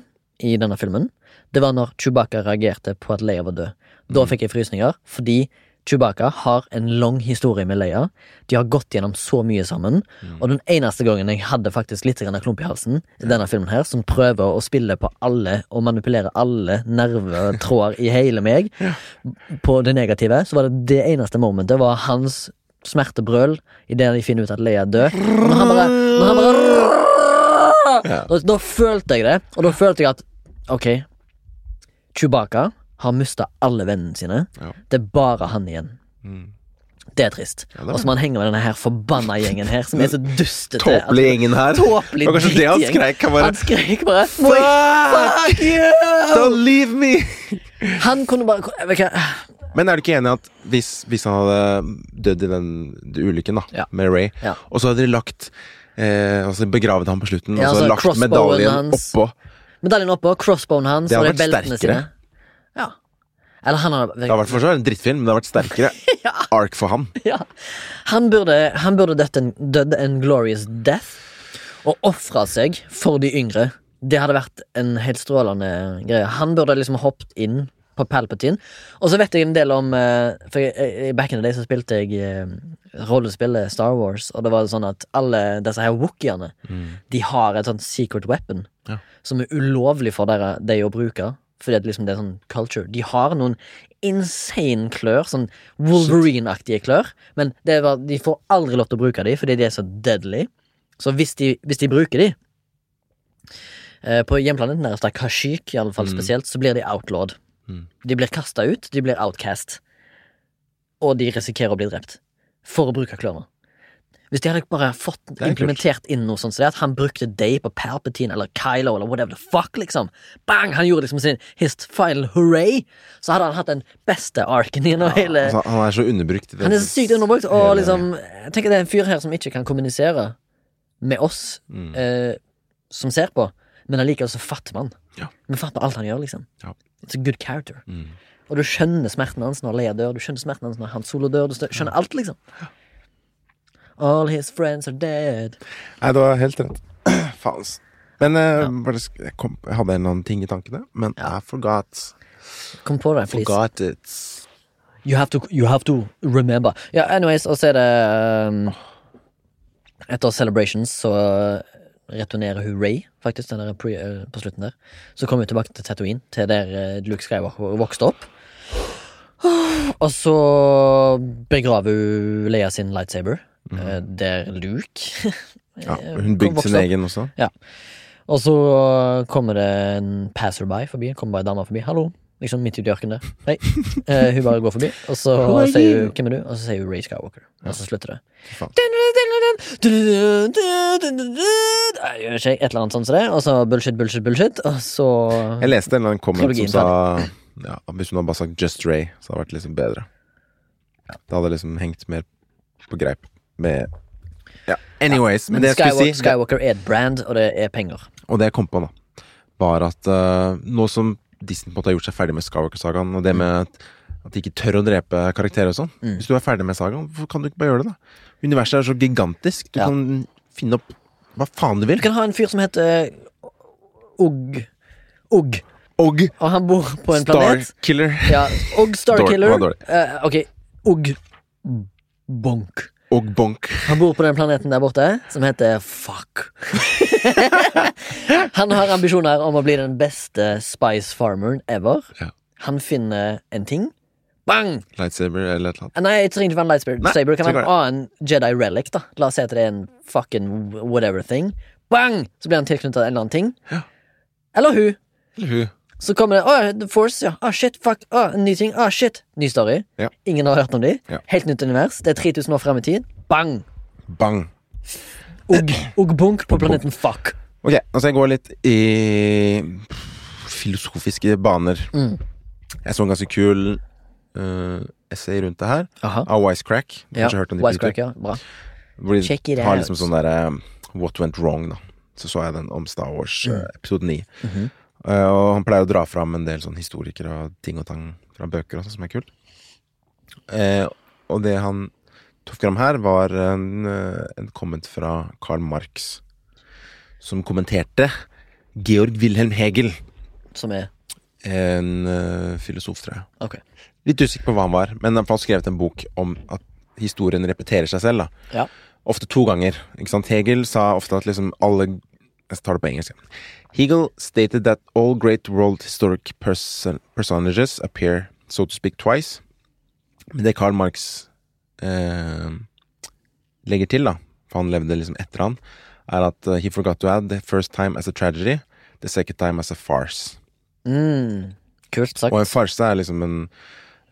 S2: i denne filmen, det var når Chewbacca reagerte på at Leia var død. Da fikk jeg frysninger, fordi Chewbacca har en lang historie med Leia. De har gått gjennom så mye sammen. Og den eneste gangen jeg hadde faktisk litt grann klump i halsen, i denne filmen her, som prøver å spille på alle og manipulere alle nervetråder i hele meg, på det negative, så var det det eneste momentet var hans smertebrøl idet de finner ut at Leia er død. Og når han bare, når han bare da, da følte jeg det, og da følte jeg at OK, Chewbacca har mista alle vennene sine.
S1: Ja. Mm.
S2: Det er bare han igjen. Det er trist.
S1: det er
S2: Og så må han henge med denne her forbanna gjengen her, som er så dustete. at-
S1: Tåpelig gjengen her.
S2: altså, Tåpelig
S1: Det var kanskje det han
S2: drittgjeng.
S1: skrek, han bare,
S2: Han skrek bare
S1: Fuck!
S2: Fuck oh!" you!
S1: Don't leave me!
S2: Han kunne bare vet du hva?
S1: Men er du ikke enig i at hvis, hvis han hadde dødd i den ulykken da,
S2: Ja.
S1: med Ray,
S2: Ja.
S1: og så hadde de lagt eh, altså begravet ham på slutten,
S2: Ja,
S1: og så
S2: altså,
S1: lagt
S2: crossbowen
S1: medaljen
S2: hans.
S1: oppå
S2: Medaljen oppå, crossbone hans
S1: Det
S2: og
S1: hadde
S2: de
S1: vært
S2: beltene
S1: sterkere.
S2: sine. Ja. Eller han
S1: Det har
S2: hadde
S1: vært for så vidt en drittfilm, men det har vært sterkere
S2: Ja.
S1: ark for han.
S2: ja. Han burde, han burde dødd en, dødd en glorious death og ofra seg for de yngre. Det hadde vært en helt strålende greie. Han burde liksom hoppet inn på Palpatine. Og så vet jeg en del om eh, For jeg, jeg, back in the day så spilte jeg eh, rollespillet Star Wars, og det var sånn at alle disse her wookiene, de har et sånt secret weapon
S1: Ja.
S2: som er ulovlig for dere, de å bruke. Fordi at liksom det er sånn culture. De har noen insane klør, sånn Wolverine-aktige klør, men det er bare- de får aldri lov til å bruke de fordi de er så deadly. Så hvis de, hvis de bruker de eh, På hjemplaneten deres, der Kashyyyk i alle fall spesielt, så blir de outlawed.
S1: Mm.
S2: De blir kasta ut, de blir outcast. Og de risikerer å bli drept. For å bruke klørne. Hvis de hadde bare fått
S1: er kult.
S2: implementert inn noe sånt som det, at han brukte deg på Palpatine eller Kylo eller whatever the fuck, liksom. Bang! Han gjorde liksom sin his final hooray. Så hadde han hatt den beste arken gjennom hele
S1: Altså, han er så underbrukt. i det-
S2: han er så sykt underbrukt. Og
S1: hele-
S2: liksom, jeg tenker det er en fyr her som ikke kan kommunisere med oss
S1: Mm.
S2: eh, som ser på, men allikevel så fatter man.
S1: Ja.
S2: Vi fatter alt han gjør, liksom.
S1: Ja.
S2: It's a good character.
S1: Mm.
S2: Og du skjønner smerten hans når Leia dør, du skjønner smerten hans når Han Solo dør, du stø- skjønner alt, liksom. All his friends are dead.
S1: Nei, du har helt rett. Faen, ass. Men eh, bare, sk- jeg, kom, jeg hadde en eller annen ting i tankene, men I forgot.
S2: Kom på deg, please.
S1: Forgot it.
S2: You have to, you have to remember. Ja, anyways, og så er det um, Etter Celebrations så uh, returnerer hun Ray, faktisk, den der pre, eh, på slutten der. Så kommer hun tilbake til Tatooine, til der eh, Luke Skywalker vokste opp. Og så begraver hun Leia sin lightsaber, eh, der Luke
S1: Mhm. Ja, hun bygde sin
S2: Eh, Vokste opp.
S1: egen også.
S2: Og så eh, kommer det en passerby forbi. Kommer bare ei dame forbi. 'Hallo.' Liksom midt ute i bjørken der. Hei. Eh, hun bare går forbi, og så
S1: Who are
S2: sier hun
S1: you?
S2: 'Hvem er du?' Og så sier hun Ray Skywalker. Og så slutter det.
S1: faen.
S2: Nei, Jeg vet ikke, et eller annet sånt som det. Og så bullshit, bullshit, bullshit. Og så
S1: Jeg leste en eller annen comment som
S2: Trilogien
S1: sa ja, at Hvis hun hadde bare sagt Just Ray, så hadde det vært liksom bedre. Det hadde liksom hengt mer på greip med ja. Anyways, men,
S2: Men
S1: det jeg
S2: Skywalker,
S1: skulle si,
S2: Skywalker er et brand, og det er penger.
S1: og det jeg kom på nå, var at eh, nå som Disney på en måte har gjort seg ferdig med Skywalker-sagaen,
S2: Mm.
S1: og det med at, at de ikke tør å drepe karakterer og sånn Hvis du er ferdig med sagaen, hvorfor kan du ikke bare gjøre det, da? Universet er så gigantisk. Du
S2: Ja.
S1: kan finne opp hva faen du
S2: Du
S1: vil.
S2: kan ha en fyr som heter Ogg. Ogg.
S1: Og
S2: Og han bor på en planet.
S1: Starkiller.
S2: Ja, og
S1: Dårlig,
S2: Starkiller
S1: det var dårlig.
S2: eh, Ok, og Bonk
S1: Og Bonk.
S2: Han bor på den planeten der borte Som heter Fuck Han har ambisjoner om å bli den beste Spice farmeren ever
S1: Ja.
S2: Han finner en ting Bang!
S1: Lightsaber eller et eller annet.
S2: Eh, Nei, jeg trenger ikke være en lightsaber
S1: Nei,
S2: Saber kan
S1: trenger
S2: være en annen Jedi relic da La oss si at det er en fucking whatever thing Bang! Så blir han tilknyttet en eller annen ting Eller hun
S1: Eller hun.
S2: så kommer det «Åh, The Force, ja. Åh, shit, fuck. Åh, en ny ting. Åh, shit. Ny story.
S1: Ja.
S2: Ingen har hørt om de.
S1: Ja.
S2: Helt nytt univers. Det er 3000 år frem i tid. Bang!
S1: Bang.
S2: Og, og bunk på planeten Fuck.
S1: Ok, altså jeg går litt i filosofiske baner.
S2: Mm.
S1: Jeg så en ganske kul eh, essay rundt det her,
S2: Aha.
S1: av Wisecrack. Du har kanskje hørt om de på
S2: Wisecrack, ja. Bra.
S1: YouTube, Hvor de
S2: Check it
S1: har
S2: out.
S1: liksom sånn derre What went wrong, da. Så så jeg den om Star Wars,
S2: Mm.
S1: eh, episode 9.
S2: Mhm.
S1: Eh, og han pleier å dra fram en del sånn historikere og ting og tang fra bøker og sånn, som er kult. Eh, og det han tok fram her, var en, eh, en comment fra Karl Marx, som kommenterte Georg Wilhelm Hegel,
S2: Som er
S1: en eh, filosof, tror jeg.
S2: Ok.
S1: Litt usikker på hva han var, men han har skrevet en bok om at historien repeterer seg selv. da
S2: Ja.
S1: ofte to ganger. Ikke sant? Hegel sa ofte at liksom alle Jeg tar det på engelsk. ja. Hegel stated that all great world historic person personages appear, so to speak, twice. Men det Karl Marx eh, legger til, da, for han levde liksom etter han, er at eh, he forgot to add the first time as a tragedy, the second time as a farce.
S2: Mm. Kult sagt.
S1: Og en farse er liksom en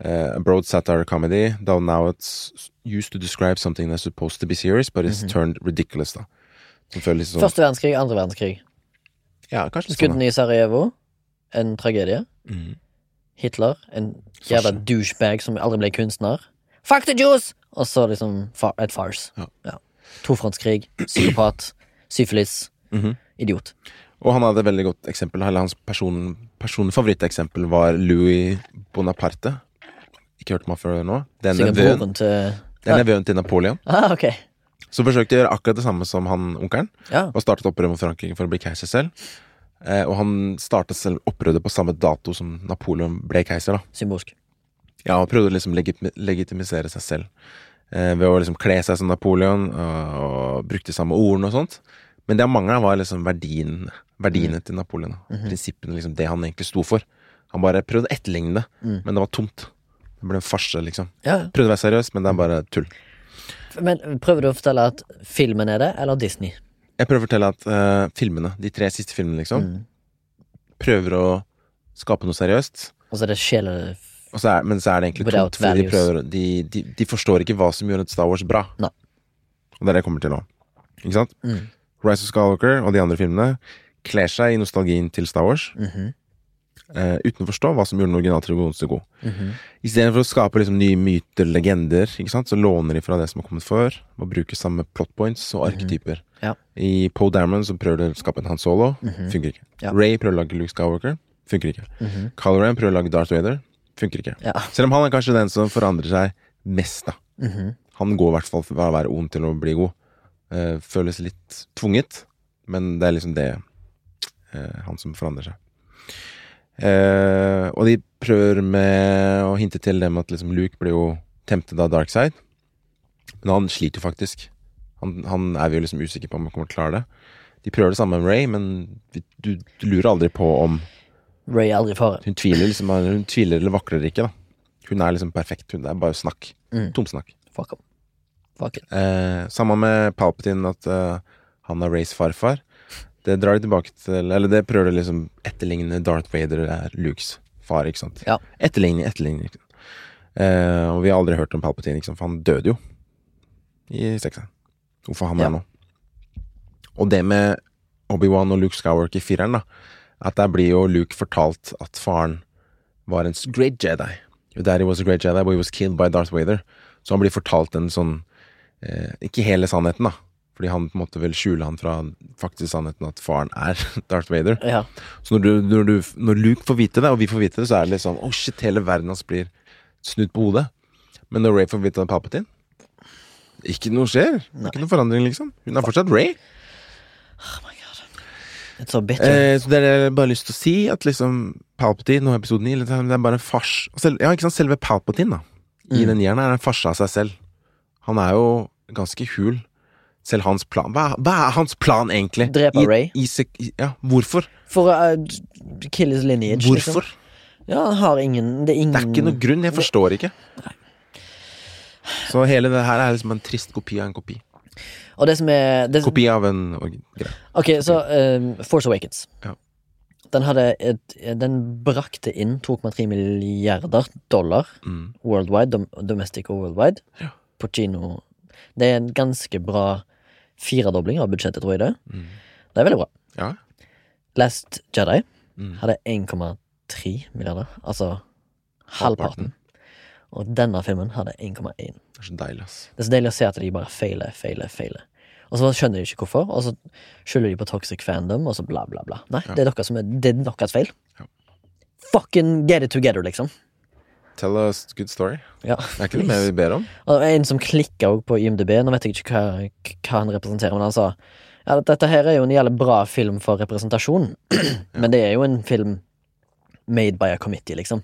S1: uh, a broad satire comedy, though now it's used to describe something that's supposed to be serious, but it's turned ridiculous, da. Som føles litt sånn
S2: Første verdenskrig, andre verdenskrig.
S1: Ja, kanskje litt sånn.
S2: Skuddene i Sarajevo, en
S1: da.
S2: tragedie.
S1: Mhm.
S2: Hitler, en jævla
S1: Farsen.
S2: douchebag som aldri ble kunstner. Fuck the Jews! Og så liksom fa- et farce.
S1: Ja.
S2: Tofrontskrig, psykopat, syfilis,
S1: Mhm.
S2: idiot.
S1: Og han hadde et veldig godt eksempel. Eller hans person, personlige favoritteksempel var Louis Bonaparte. Ikke hørt om han før nå. Det er
S2: Sikkert
S1: nevøen-
S2: broren til
S1: det er nevøen til Napoleon.
S2: Ah, ok.
S1: Som forsøkte å gjøre akkurat det samme som han onkelen.
S2: Ja.
S1: Og startet opprør mot Frankrike for å bli keiser selv. Eh, og han startet selv opprøret på samme dato som Napoleon ble keiser. da
S2: Symbolsk.
S1: Ja, han prøvde å liksom legitimi- legitimisere seg selv eh, ved å liksom kle seg som Napoleon og, og brukte samme ordene og sånt. Men det han mangla, var liksom verdien, verdiene til Napoleon. da. Prinsippene, liksom det han egentlig sto for. Han bare prøvde å etterligne det, men det var tomt. Det ble en farse, liksom.
S2: Ja.
S1: Prøvde å være seriøs, men det er bare tull.
S2: Men prøver du å fortelle at filmen er det, eller Disney?
S1: Jeg prøver å fortelle at eh, filmene, de tre siste filmene, liksom,
S2: Mm.
S1: prøver å skape noe seriøst.
S2: Og så er Altså, det sjele...
S1: Og så er, men så er det egentlig
S2: Without
S1: tomt, for de,
S2: values.
S1: prøver, de, de, de forstår ikke hva som gjorde Star Wars bra.
S2: Nei.
S1: Og det er det jeg kommer til nå. Ikke sant?
S2: Mm.
S1: Rise of Skywalker og de andre filmene kler seg i nostalgien til Star Wars,
S2: Mhm.
S1: eh, uten å forstå hva som gjorde den originale trilogien så god.
S2: Mhm.
S1: Istedenfor å skape liksom, nye myter, legender, ikke sant? så låner de fra det som har kommet før, og bruker samme plot points og arketyper.
S2: Mhm. Ja. Mhm.
S1: I Poe Dameron så prøver de å skape en Han Solo, funker ikke.
S2: Ja. Mhm.
S1: Ray prøver å lage Luke Skywalker, funker ikke. Kylo Ren prøver å lage Darth Vader, funker ikke.
S2: Ja.
S1: Selv om han er kanskje den som forandrer seg mest, da.
S2: Mhm.
S1: Han går i hvert fall fra å være ond til å bli god. Eh, føles litt tvunget, men det er liksom det eh, han som forandrer seg. Eh, og de prøver med å hinte til dem at liksom Luke blir jo temptet av Darkside. Men han sliter jo faktisk. Han, han er vi jo liksom usikre på om han kommer til å klare det. De prøver det samme med Ray, men vi- du, du lurer aldri på om
S2: Ray er aldri i fare.
S1: hun tviler, liksom, hun tviler eller vakler ikke. da Hun er liksom perfekt. Hun det er bare snakk.
S2: Mm.
S1: Tomsnakk.
S2: Fuck him. Fuck it.
S1: Eh, Samme med Palpatine, at eh, han er Rays farfar. Det drar de tilbake til Eller det prøver de liksom etterligne Darth Vader er Lukes far, ikke sant.
S2: Ja.
S1: Etterligne, etterligne. Ikke sant? liksom. Eh, og vi har aldri hørt om Palpatine, ikke sant? for han døde jo i sekseren. Hvorfor han
S2: Ja.
S1: er nå. Og det med Obi-Wan og Luke Skywalker i fireren, da, at der blir jo Luke fortalt at faren var en s- great Jedi. Your daddy was a great Jedi, but he was killed by Darth Vader. Så han blir fortalt en sånn eh, Ikke hele sannheten, da. Fordi han på en måte vil skjule han fra faktisk sannheten at faren er Darth Vader.
S2: Ja.
S1: Så når, du, når, du, når Luke får vite det, og vi får vite det, så er det litt sånn Oh shit, hele verden hans blir snudd på hodet. Men når Ray får vite av Palpatine Ikke noe skjer. Ikke noe forandring, liksom. Hun er fortsatt Ray.
S2: It's so bitter.
S1: Eh, så det er bare lyst til å si at liksom Palpatine og episode 9 liksom, Det er bare en fars og selv, Ja, ikke sant, selve Palpatine da I den hjernen er en farse av seg selv Han er jo ganske hul Selv hans plan Hva, hva er hans plan egentlig?
S2: Drepe
S1: I-
S2: Rey?
S1: i sek- i- Ja, hvorfor?
S2: For å uh, kill his lineage.
S1: Hvorfor?
S2: Liksom. Ja, han har ingen Det er ingen
S1: Det er ikke noen grunn, jeg forstår ikke Så hele det her er liksom en trist kopi av en kopi
S2: Og det som er det, som-
S1: Kopi av en orgi- greie
S2: Ok, så eh, Force Awakens.
S1: Ja.
S2: Den hadde et, Den brakte inn 2,3 milliarder dollar
S1: Mm.
S2: worldwide, dom, domestic og worldwide, på kino. Det er en ganske bra firedobling av budsjettet, tror jeg det.
S1: Mm.
S2: Det er veldig bra.
S1: Ja,
S2: Last Jedi
S1: Mm.
S2: hadde 1,3 milliarder, altså halvparten.
S1: Halvparten.
S2: Og denne filmen hadde 1,1.
S1: det er så deilig ass
S2: Det er så deilig å se at de bare feiler, feiler, feiler. Og så skjønner de ikke hvorfor, og så skylder de på toxic fandom, og så bla, bla, bla. Nei, det er dere som er, det er deres feil.
S1: Ja.
S2: Fucking get it together, liksom.
S1: Tell us good story
S2: Ja.
S1: Det er ikke det mer vi ber om
S2: Og en som klikka òg på IMDb, nå vet jeg ikke hva, hva han representerer, men han sa ja, dette her er jo en jævlig bra film for representasjon, men det er jo en film made by a committee, liksom.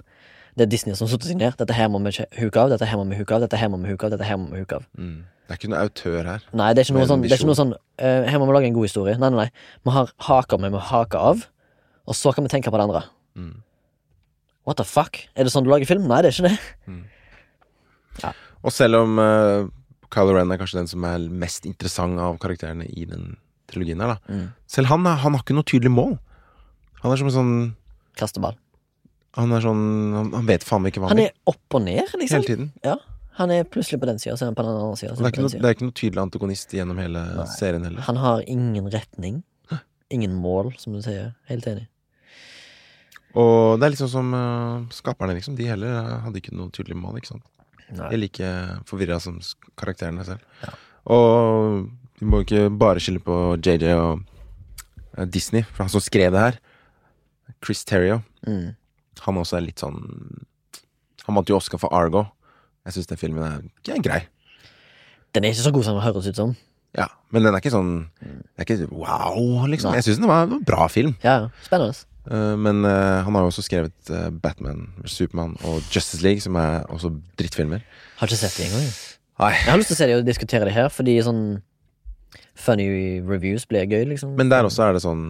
S2: Det er Disney som sitter seg ned. Dette her må vi ikke huke av, dette her må vi huke av, dette her må vi huke av. dette her må vi huke av.
S1: mm. Det er ikke noen autør her
S2: Nei, det er ikke
S1: Med
S2: noe
S1: en
S2: sånn, det er ikke noe sånn eh, Her må vi lage en god historie. Nei, nei, nei. Vi har haker vi må hake av, og så kan vi tenke på det andre.
S1: Mm.
S2: What the fuck? Er det sånn du lager film? Nei, det er ikke det.
S1: Og selv om eh, Kylo Ren er kanskje den som er mest interessant av karakterene i den trilogien her, da. Selv han, er- han har ikke noe tydelig mål. Han er som en sånn
S2: Kasteball.
S1: Han er sånn Han, han vet faen ikke hva
S2: Han
S1: han vil
S2: er opp og ned, liksom.
S1: hele tiden.
S2: Ja. Han er plutselig på den sida, så er han på den andre sida.
S1: Og Det er, ikke noe, det er ikke noe tydelig antagonist gjennom hele
S2: Nei.
S1: serien heller.
S2: Han har ingen retning. Ingen mål, som du sier. Helt enig.
S1: Og det er liksom som eh, skaperne, liksom. De heller eh, hadde ikke noe tydelig mål, ikke sant. De
S2: Nei.
S1: er like forvirra som s- karakterene selv.
S2: Ja.
S1: Og vi må ikke bare skylde på JJ og eh, Disney, for han som skrev det her, Chris Terrio,
S2: Mm.
S1: han også er litt sånn Han vant jo Oscar for Argo. Jeg syns den filmen er, er grei.
S2: Den er ikke så god som den høres ut som.
S1: Ja, Men den er ikke sånn Det er ikke wow, liksom.
S2: Nei.
S1: Jeg syns den var en bra film.
S2: Ja, ja. Spennende.
S1: Eh, Men eh, han har jo også skrevet eh, Batman, Supermann og Justice League, som er også drittfilmer.
S2: Har ikke sett det engang. jeg.
S1: Nei.
S2: Jeg har lyst til å se det og diskutere det her, fordi sånn funny reviews blir gøy, liksom.
S1: Men der også er det sånn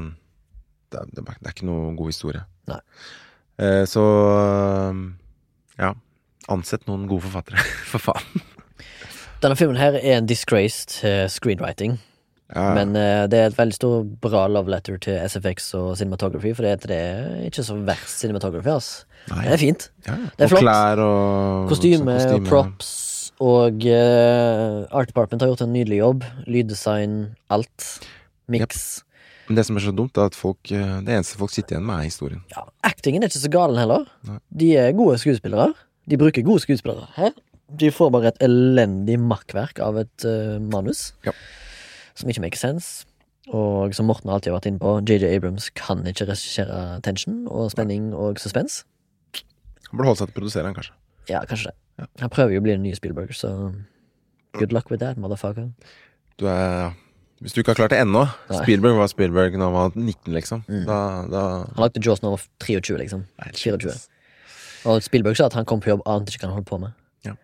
S1: Det er, det er det er ikke noe god historie.
S2: Nei.
S1: Eh, Så eh, ja. Ansett noen gode forfattere, for faen.
S2: Denne filmen her er en disgrace til screenwriting.
S1: Ja, ja.
S2: Men eh, det er et veldig stor bra love letter til SFX og cinematography, for det det er ikke så verst cinematography, ass.
S1: Nei.
S2: Det er fint.
S1: ja, ja.
S2: det er
S1: og
S2: flott.
S1: klær og sånn,
S2: Kostyme og
S1: kostyme.
S2: props og eh, Art Department har gjort en nydelig jobb. Lyddesign, alt. Miks.
S1: Men det som er så dumt, er at folk eh, det eneste folk sitter igjen med, er historien.
S2: Ja, actingen er ikke så galen heller.
S1: Nei.
S2: De er gode skuespillere. De bruker gode skuespillere. Hæ? De får bare et elendig makkverk av et eh, manus
S1: Ja.
S2: som ikke makes sense. Og som Morten alltid har vært inne på, JJ Abrams kan ikke regissere tension og spenning og suspens.
S1: Han burde holde seg til produsereren, kanskje.
S2: Ja, kanskje det. Han prøver jo å bli den nye Spielberg, så good luck with that, motherfucker.
S1: du er Hvis du ikke har klart det ennå
S2: Nei. Mm.
S1: Spielberg var Spielberg da han var 19, liksom. Da, da
S2: Han lagde Jaws når han var 23, liksom. 24. Og Spielberg sa at han kom på jobb annet ikke kan holde på med.
S1: Ja.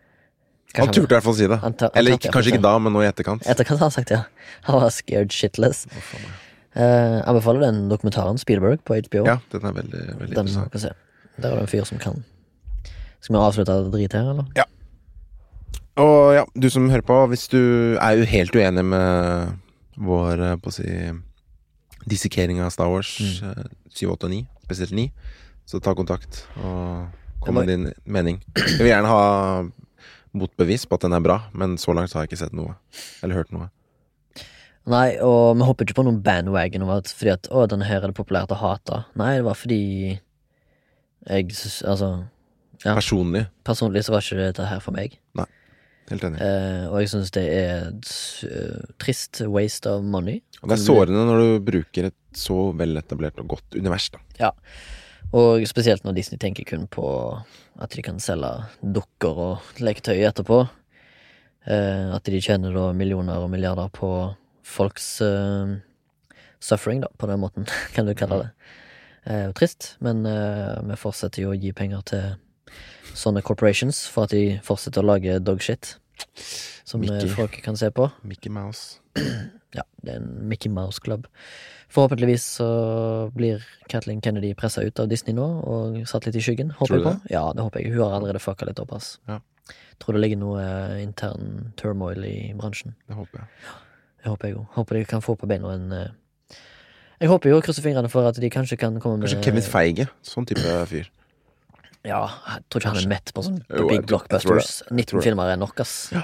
S2: Kanskje
S1: Han turte i hvert fall å si det.
S2: Han ta- han
S1: Eller
S2: turte
S1: ikke,
S2: i hvert fall
S1: kanskje
S2: si
S1: ikke da, men nå i etterkant.
S2: Etterkant har han sagt det. Han var scared shitless. Eh, anbefaler den dokumentaren Spielberg på HBO.
S1: Ja, den er veldig, veldig
S2: den man
S1: interessant.
S2: kan se. Der er det en fyr som kan Skal vi avslutte det drit her, eller?
S1: Og ja, du som hører på, hvis du er jo helt uenig med vår eh, på å si, dissekering av Star Wars
S2: Mm.
S1: eh, 7, 8 og 9, spesielt 9, så ta kontakt og kom med din mening. Jeg vil gjerne ha motbevis på at den er bra, men så langt har jeg ikke sett noe. Eller hørt noe.
S2: Nei, og vi hopper ikke på noen bandwagon om at fordi at 'Å, denne her er det populært å hate'. Nei, det var fordi jeg synes, Altså, Ja.
S1: Personlig.
S2: personlig så var ikke dette her for meg.
S1: Helt enig.
S2: Eh, og jeg syns det er et eh, trist waste of money.
S1: Og det er sårende når du bruker et så veletablert og godt univers, da.
S2: Ja. Og spesielt når Disney tenker kun på at de kan selge dukker og leketøy etterpå. Eh, at de tjener da millioner og milliarder på folks eh, suffering, da, på den måten, kan du kalle det. Eh, trist, men eh, vi fortsetter jo å gi penger til sånne corporations for at de fortsetter å lage dogshit. Som eh,
S1: Mickey.
S2: folk kan se på.
S1: Mickey Mouse.
S2: Ja, det er en Mickey Mouse Club. Forhåpentligvis så blir Kathleen Kennedy pressa ut av Disney nå og satt litt i skyggen. Håper
S1: Tror
S2: jeg
S1: du
S2: på. Ja, det håper jeg. Hun har allerede fucka litt opp, ass.
S1: Ja.
S2: Tror det ligger noe eh, intern turmoil i bransjen.
S1: Det håper jeg.
S2: Det håper jeg jo. Håper de kan få på beina en eh, Jeg håper jo og krysser fingrene for at de kanskje kan komme med
S1: Kanskje Kenneth Feige. Sånn type fyr.
S2: Ja, jeg tror ikke han er mett på sånn
S1: Jo, jeg
S2: big
S1: tror- jeg tror det.
S2: blockbusters. 19 filmer er nok, ass.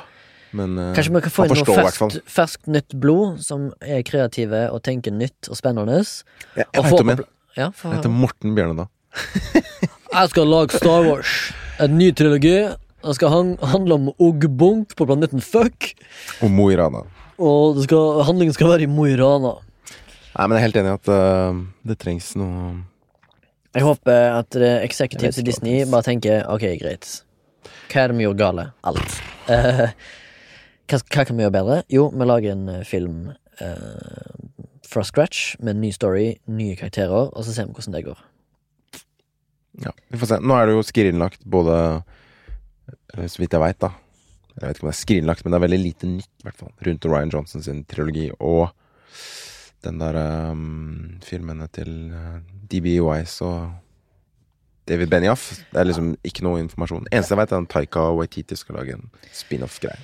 S1: Men eh,
S2: Kanskje vi kan få
S1: han
S2: inn noe
S1: forstår i hvert fall.
S2: ferskt, ferskt nytt blod som er kreative og tenker nytt og spennende.
S1: Jeg,
S2: Og
S1: jeg
S2: få
S1: vet om
S2: på
S1: en.
S2: pla- Ja, for...
S1: Han heter Morten Bjørnedal.
S2: Jeg skal lage Star Wars. En ny trilogi. Den skal hang- handle om Ogbunk på planeten Fuck.
S1: Og Mo i Rana.
S2: Og det skal, handlingen skal være i Mo i Rana.
S1: Nei, men jeg er helt enig i at eh, det trengs noe
S2: Jeg håper at eh,
S1: Jeg vet
S2: executives i
S1: ikke hva
S2: Disney
S1: det er.
S2: bare tenker ok, greit. Hva er det vi gjorde gale? Alt. Eh, hva, hva kan vi gjøre bedre? Jo, vi lager en eh, film eh, fra scratch med en ny story, nye karakterer, og så ser vi hvordan det går.
S1: Ja, vi får se. Nå er det jo skrinlagt både eller Så vidt jeg veit, da. Jeg vet ikke om det er skrinlagt, men det er veldig lite nytt, i hvert fall. Rundt Ryan Johnson sin trilogi og den der eh, filmene til uh, DB Wise og David Benioff. Det er liksom ikke noe informasjon. Eneste jeg veit, er at Taika Waititi skal lage en spin-off-greie.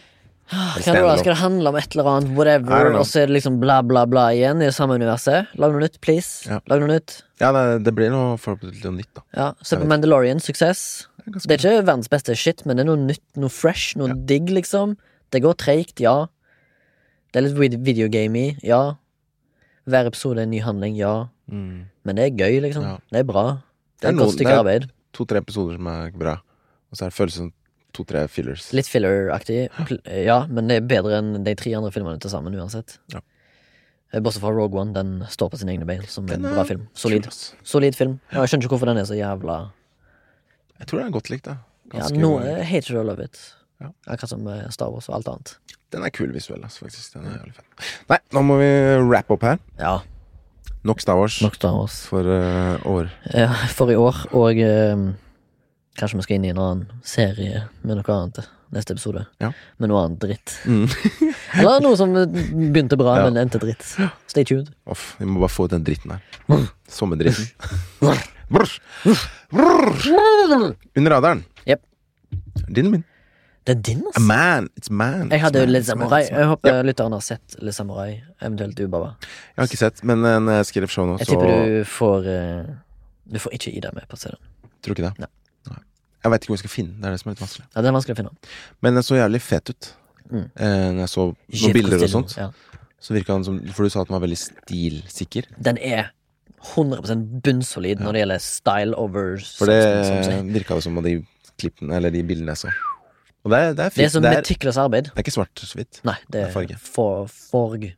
S2: Ah, Hva da? Skal det handle om et eller annet,
S1: I don't
S2: whatever,
S1: know.
S2: og så er det liksom bla, bla, bla igjen i det samme universet? Lag noe nytt, please.
S1: Ja.
S2: Lag noe nytt.
S1: Ja, det, det blir noe forhåpentlig noe nytt, da.
S2: Ja, Se
S1: Jeg
S2: på
S1: vet.
S2: Mandalorian. Suksess.
S1: Det er ganske
S2: Det er ikke verdens beste shit, men det er noe nytt, noe fresh, noe digg, liksom. Det går treigt, ja. Det er litt vid- videogame i, ja. Hver episode er en ny handling, ja.
S1: bra. Mm.
S2: Men det er gøy, liksom.
S1: Ja.
S2: Det er bra. Det
S1: Det er
S2: er et godt
S1: noen-
S2: stykke
S1: det er-
S2: arbeid.
S1: To-tre episoder som er bra, og så er det føles som to-tre fillers.
S2: Litt filler-aktig, pl- eh, ja, men det er bedre enn de tre andre filmene til sammen, uansett.
S1: Ja.
S2: Eh, Bortsett fra Rogue One, den står på sine egne bein som en
S1: Den er
S2: bra film. Solid,
S1: Kul, ass.
S2: solid film. Ja, jeg skjønner ikke hvorfor den er så jævla
S1: Jeg tror den er godt likt, da.
S2: ja,
S1: Ganske-
S2: Noe jeg hater og love it.
S1: Ja.
S2: Akkurat som eh, Star Wars og alt annet.
S1: Den er kul visuell, ass, faktisk. Den er jævlig fett. Nei, nå må vi wrap opp her.
S2: Ja,
S1: Nok Star Wars
S2: nok Star Wars.
S1: for eh, år.
S2: Ja, for i år, og eh, kanskje vi skal inn i en annen serie med noe annet neste episode.
S1: Ja.
S2: Med noe annet dritt.
S1: Mm.
S2: Eller noe som eh, begynte bra,
S1: Ja.
S2: men endte dritt. Stay tuned.
S1: Uff, vi må bare få ut den dritten her. Sommerdritten. Brr. Brr. Under radaren.
S2: Jep.
S1: Din og min.
S2: Det er din,
S1: A
S2: altså.
S1: man. It's man.
S2: Jeg hadde
S1: It's man.
S2: Le
S1: It's man.
S2: Samurai.
S1: It's man.
S2: Jeg håper
S1: Ja,
S2: lytteren har sett Le Samurai, eventuelt Ubaba.
S1: jeg har ikke sett, men eh, når jeg skriver show nå,
S2: Jeg
S1: så
S2: tipper du får eh, Du får ikke Ida med på CD-en.
S1: Tror ikke det.
S2: Nei.
S1: Nei. Jeg veit ikke hvor jeg skal finne den. Det er det som er litt vanskelig.
S2: Ja, det er vanskelig å finne.
S1: Men den så jævlig fet ut.
S2: Mm.
S1: Eh, når jeg så
S2: Shit,
S1: noen bilder og
S2: Costello,
S1: sånt,
S2: Ja.
S1: så virka han som For du sa at den var veldig stilsikker.
S2: Den er 100 bunnsolid når det gjelder style over
S1: For det
S2: substance, som sier.
S1: virka det som av de klippene eller de bildene jeg så. Og det er, det er
S2: Det er
S1: fint.
S2: som
S1: Det er,
S2: meticulous arbeid.
S1: det er ikke svart så vidt.
S2: Nei, det
S1: Det er farge.
S2: er for, forg.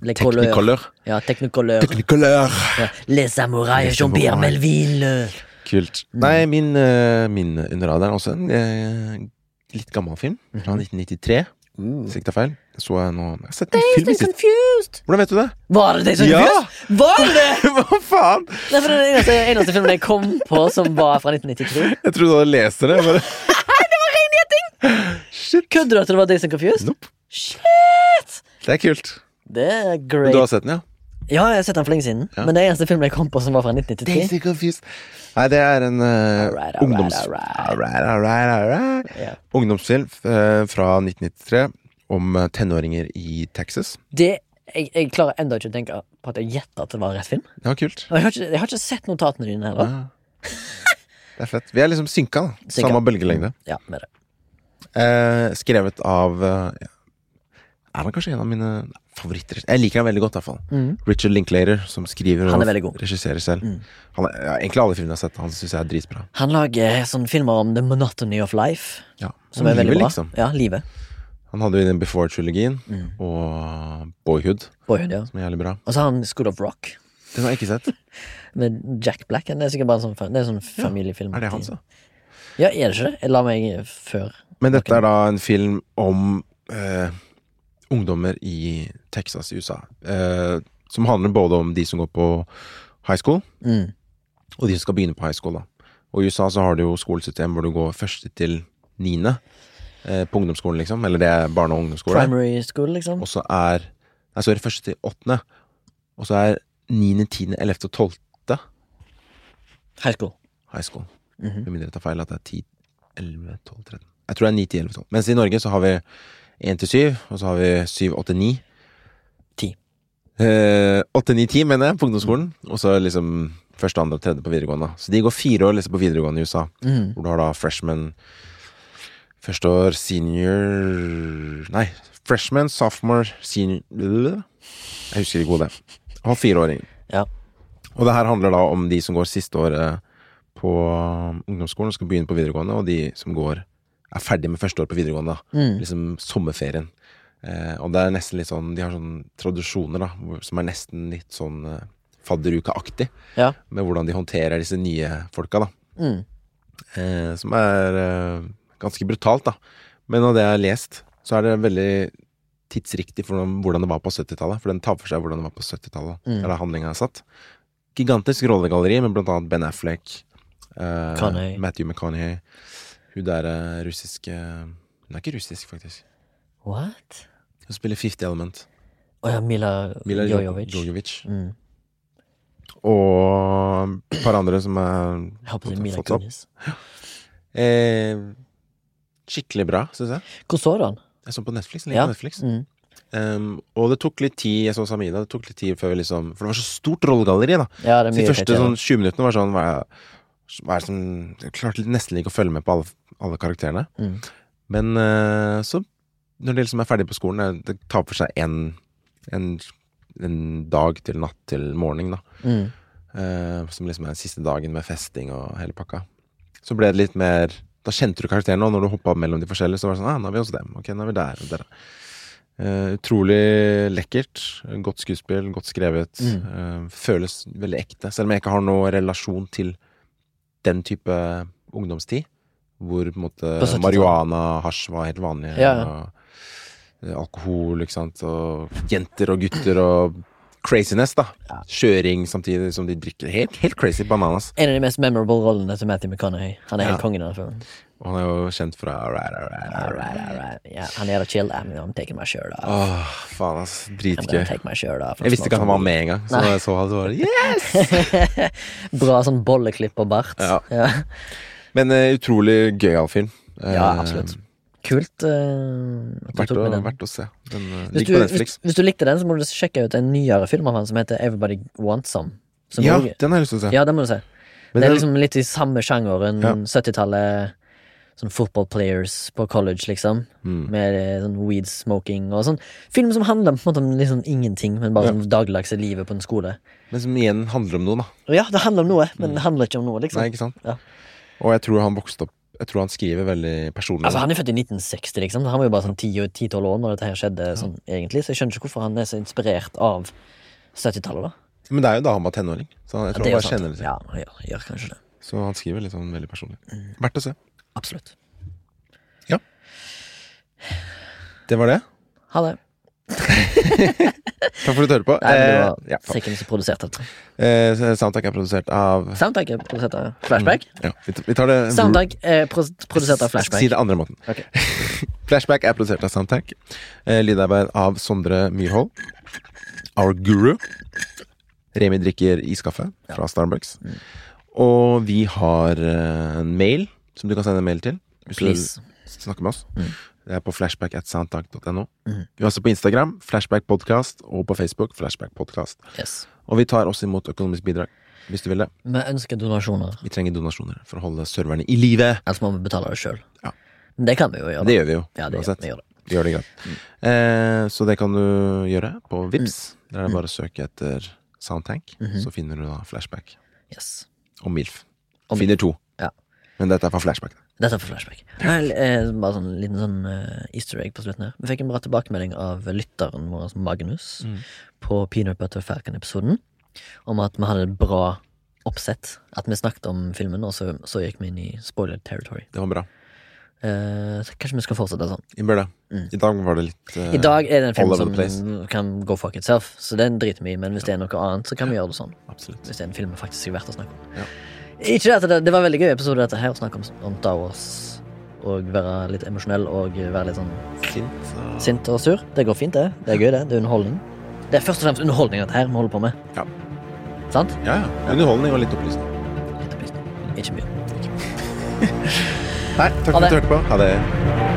S2: Le couleur.
S1: Technicolor.
S2: Ja, technicolor.
S1: Technicolor.
S2: Ja. Les samurais,
S1: Les
S2: Jean-Pierre
S1: Samurais.
S2: Melville.
S1: Kult.
S2: Mm.
S1: Nei, min, eh, min Under radaren er også en eh, litt gammel film.
S2: Mhm.
S1: Fra 1993. Hvis ikke tar feil. Så jeg nå Jeg har sett en film i sist.
S2: Confused.
S1: Hvordan vet du det?
S2: Var det det som
S1: Ja!
S2: confused? Var det?
S1: Hva faen?
S2: Nei, for det er den eneste, eneste filmen jeg kom på som var fra 1993.
S1: Jeg trodde du hadde lest det. jeg Bare.
S2: Kødder du at det var Days and Confused?
S1: Nope.
S2: Shit,
S1: Det er kult.
S2: det er
S1: Men
S2: great.
S1: Du har sett den, ja?
S2: Ja, jeg har sett den for lenge siden,
S1: Ja.
S2: men det er eneste filmen jeg kom på som var fra 1993.
S1: Daisy Confused. Nei, det er en eh,
S2: Alright, alright,
S1: ungdoms...
S2: alright.
S1: Alright, alright, alright.
S2: Ja.
S1: Ungdomsfilm eh, fra 1993 om eh, tenåringer i Texas.
S2: Det, jeg, jeg klarer enda ikke å tenke på at jeg gjetter at det var rett film.
S1: Det var kult.
S2: Og jeg har ikke, jeg har ikke sett notatene dine heller.
S1: Ja. Det er fett. Vi er liksom synka, da.
S2: Synka. Mm.
S1: Samme bølgelengde.
S2: Ja, med det.
S1: Eh, skrevet av eh, ja. Er han kanskje en av mine favoritter? Jeg liker han veldig godt, i hvert fall.
S2: Mhm.
S1: Richard Linklater, som skriver
S2: Han er veldig
S1: og
S2: god.
S1: regisserer selv.
S2: Mm.
S1: Han er, ja, egentlig alle filmene jeg har sett, han syns jeg er dritbra.
S2: Han lager sånne filmer om the monotony of life,
S1: Ja.
S2: som er
S1: Livet,
S2: veldig bra.
S1: liksom.
S2: Ja, livet.
S1: Han hadde jo den Before-trilogien og Boyhood,
S2: Boyhood, ja.
S1: som er jævlig bra.
S2: Og så har han School of Rock
S1: Den har jeg ikke sett.
S2: med Jack Black. Det er sikkert bare en sånn, fa- det er en sånn familiefilm.
S1: Er det hans, da?
S2: Ja, er det ikke det? Jeg la meg før.
S1: Men dette er da en film om eh, ungdommer i Texas i USA. Eh, som handler både om de som går på high school,
S2: Mm.
S1: og de som skal begynne på high school. da. Og i USA så har du jo skolesystem hvor du går første til niende eh, på ungdomsskolen, liksom. Eller det er barne- og ungdomsskole.
S2: Primary school, liksom.
S1: Og så er Nei, så er det første til åttende. Og så er niende, tiende, ellevte og tolvte
S2: High school.
S1: high school.
S2: Mhm.
S1: Med mindre jeg tar feil at det er 10, 11, 12, 13 Jeg tror det er 9, 10, 11, 12. Mens i Norge så har vi 1 til 7, og så har vi 7, 8, 9.
S2: 10.
S1: Eh, 8, 9, 10, mener jeg, på ungdomsskolen. Og så liksom første, andre og tredje på videregående. Så de går fire år liksom, på videregående i USA,
S2: Mhm.
S1: hvor du har da freshman Første år, senior Nei, freshman, sophomore, senior Jeg husker ikke hvor det er. Har fireåring.
S2: Ja.
S1: Og det her handler da om de som går siste året på um, ungdomsskolen og skal begynne på videregående, og de som går er ferdig med første år på videregående. da.
S2: Mm.
S1: Liksom sommerferien. Eh, og det er nesten litt sånn De har sånne tradisjoner da, hvor- som er nesten litt sånn eh, fadderukeaktig
S2: Ja.
S1: med hvordan de håndterer disse nye folka, da.
S2: Mm.
S1: Eh, som er eh, ganske brutalt, da. Men av det jeg har lest, så er det veldig tidsriktig for hvordan- hvordan det var på 70-tallet. For den tar for seg hvordan det var på 70-tallet.
S2: Mm.
S1: Der er handlinga satt. Gigantisk rollegalleri med blant annet Ben Affleck, eh,
S2: Connery.
S1: Matthew McConaughey Hun der eh, russiske Hun er ikke russisk, faktisk.
S2: What?
S1: Hun spiller Fifty Element.
S2: Å ja, Mila,
S1: Mila Jo-
S2: Jojovic.
S1: Jojovic.
S2: Mm.
S1: Og et par andre som er
S2: Jeg håper det er Mila
S1: fått opp.
S2: Kunis.
S1: Eh, skikkelig bra, syns jeg.
S2: Hvor så du han?
S1: Jeg så den på Netflix. Den ligger
S2: Ja.
S1: på Netflix.
S2: Mm.
S1: Um, og det tok litt tid, jeg så Samida, det tok litt tid før vi liksom For det var så stort rollegalleri, da.
S2: ja, det er
S1: Så de
S2: mye
S1: første
S2: irriterende.
S1: sånn 20 minuttene var sånn hva er, hva er det som Jeg klarte nesten ikke å følge med på alle, alle karakterene.
S2: Mm.
S1: Men eh, så, når de liksom er ferdige på skolen, eh, det tar for seg en, en, en dag til natt til morgen, da.
S2: Mm.
S1: Eh, som liksom er den siste dagen med festing og hele pakka. Så ble det litt mer Da kjente du karakterene, og når du hoppa mellom de forskjellige, så var det sånn ah, nå er vi hos dem. Ok, nå er vi der. Og der. Eh, utrolig lekkert. Godt skuespill, godt skrevet. Eh, føles veldig ekte. Selv om jeg ikke har noe relasjon til den type ungdomstid, hvor på en måte
S2: På 70-tallet.
S1: marihuana og hasj var helt vanlig.
S2: Ja, ja.
S1: Og eh, alkohol, ikke sant. Og jenter og gutter og craziness, da. Kjøring samtidig som de drikker. Helt, helt crazy bananas.
S2: En av de mest memorable rollene til Matthew McConaughey. Han er
S1: Ja.
S2: helt kongen i den filmen.
S1: Og han er jo kjent fra alright, alright, alright.
S2: Alright, alright. Ja, han er da chill. I'm, I'm taking my shirt off.
S1: Åh, faen, ass.
S2: I'm
S1: Dritgøy.
S2: gonna take my shirt off.
S1: Jeg visste ikke at han var med engang. Så
S2: Nei.
S1: når jeg så han, så var det yes!
S2: Bra sånn bolleklipp og bart.
S1: Ja.
S2: Ja.
S1: Men eh, utrolig gøyal film. Eh,
S2: Ja, absolutt. Kult. eh, at du
S1: Verdt
S2: tok
S1: å,
S2: med den.
S1: verdt å se. Den eh,
S2: Hvis
S1: ligger
S2: du,
S1: på
S2: hvis,
S1: Netflix.
S2: hvis du likte den, så må du sjekke ut en nyere film av han som heter Everybody Wants Some. Som
S1: Ja,
S2: også-
S1: den har jeg lyst til å se.
S2: ja, den må du se.
S1: Men
S2: det er
S1: den-
S2: liksom litt i samme sjangeren.
S1: Ja.
S2: 70-tallet, sånn football players på college, liksom.
S1: Mm.
S2: Med eh, sånn weed smoking og sånn. Film som handler på en måte om liksom ingenting, men bare sånn dagligdagse livet på en skole.
S1: Men som igjen handler om noe, da.
S2: Og ja, det handler om noe, men det handler ikke om noe, liksom.
S1: Mm. Nei, ikke sant?
S2: Ja.
S1: Og jeg tror han vokste opp Jeg tror han skriver veldig personlig.
S2: Altså, han er født i 1960, liksom. Han var jo bare sånn 10 og 10-12 år når dette her skjedde, sånn, egentlig. Så jeg skjønner ikke hvorfor han er så inspirert av 70-tallet, da.
S1: Men det er jo da han var tenåring. Så han, jeg tror han
S2: Det er jo
S1: bare kjenner det
S2: sant.
S1: til.
S2: Ja, han gjør, gjør kanskje det.
S1: Så han skriver litt sånn veldig personlig.
S2: Mm.
S1: Verdt å se.
S2: Absolutt.
S1: Det var det.
S2: Ha det.
S1: Takk for at du hører på.
S2: Nei, men det var
S1: Eh, ja, faen.
S2: Sekken som produserte det.
S1: eh, Soundtrack er produsert av
S2: Soundtank er produsert av Flashback.
S1: ja, vi t- Vi tar det
S2: Soundtank er pro- produsert av
S1: Mm.
S2: Flashback.
S1: Si det andre måten.
S2: Ok.
S1: Flashback er produsert av Soundtank. Eh, lydarbeid av Sondre Myrhold. Our Guru. Remi drikker iskaffe fra Starbucks.
S2: Mm.
S1: Og vi har eh, en mail som du kan sende en mail til. Hvis
S2: Please.
S1: du snakker med oss. Det er på flashback at soundtank.no. Vi er også på Instagram, Flashback Podcast, og på Facebook, Flashback Podcast.
S2: Yes.
S1: Og vi tar også imot økonomisk bidrag, hvis du vil det.
S2: Vi ønsker donasjoner,
S1: Vi trenger donasjoner for å holde serverne i live.
S2: ellers må vi betale det sjøl.
S1: Ja.
S2: Men det kan vi jo gjøre.
S1: Det gjør vi jo,
S2: Ja, det gjør-
S1: uansett.
S2: vi gjør det.
S1: Vi gjør det greit. Mm. Eh, så det kan du gjøre på Vips. Der er det bare å søke etter Soundtank, så finner du da flashback.
S2: Yes.
S1: Og MILF.
S2: Og
S1: finner to.
S2: Ja.
S1: Men dette er for flashback.
S2: Dette er for flashback. Nei, eh, bare sånn liten sånn eh, easter egg på slutten her. Vi fikk en bra tilbakemelding av lytteren vår, Magnus,
S1: Mm.
S2: på Peanut Butter Falcon-episoden, om at vi hadde et bra oppsett. At vi snakket om filmen, og så, så gikk vi inn i spoiler territory.
S1: Det var bra.
S2: Eh, så kanskje vi skal fortsette sånn.
S1: Vi bør det. I dag var det litt eh,
S2: I dag er det en film
S1: all over the place.
S2: som kan go fuck itself, så den driter vi i. Men hvis det er noe annet, så kan vi gjøre det sånn.
S1: Absolutt.
S2: Hvis det er en film vi faktisk er verdt å snakke om.
S1: Ja.
S2: Ikke det, at det, det var en veldig gøy episode dette her, å snakke om, om Star Wars. Og være litt emosjonell og være litt sånn
S1: Sint. og-
S2: sint og sur. Det går fint, det. Det er gøy, det. Det er underholdning. Det er først og fremst underholdning dette her vi holder på med.
S1: Ja.
S2: Sant?
S1: Ja, ja. Underholdning og litt opplysning.
S2: Litt opplysning. Ikke mye.
S1: Nei, takk for
S2: Ha
S1: at du
S2: det.
S1: hørte på. Ha det.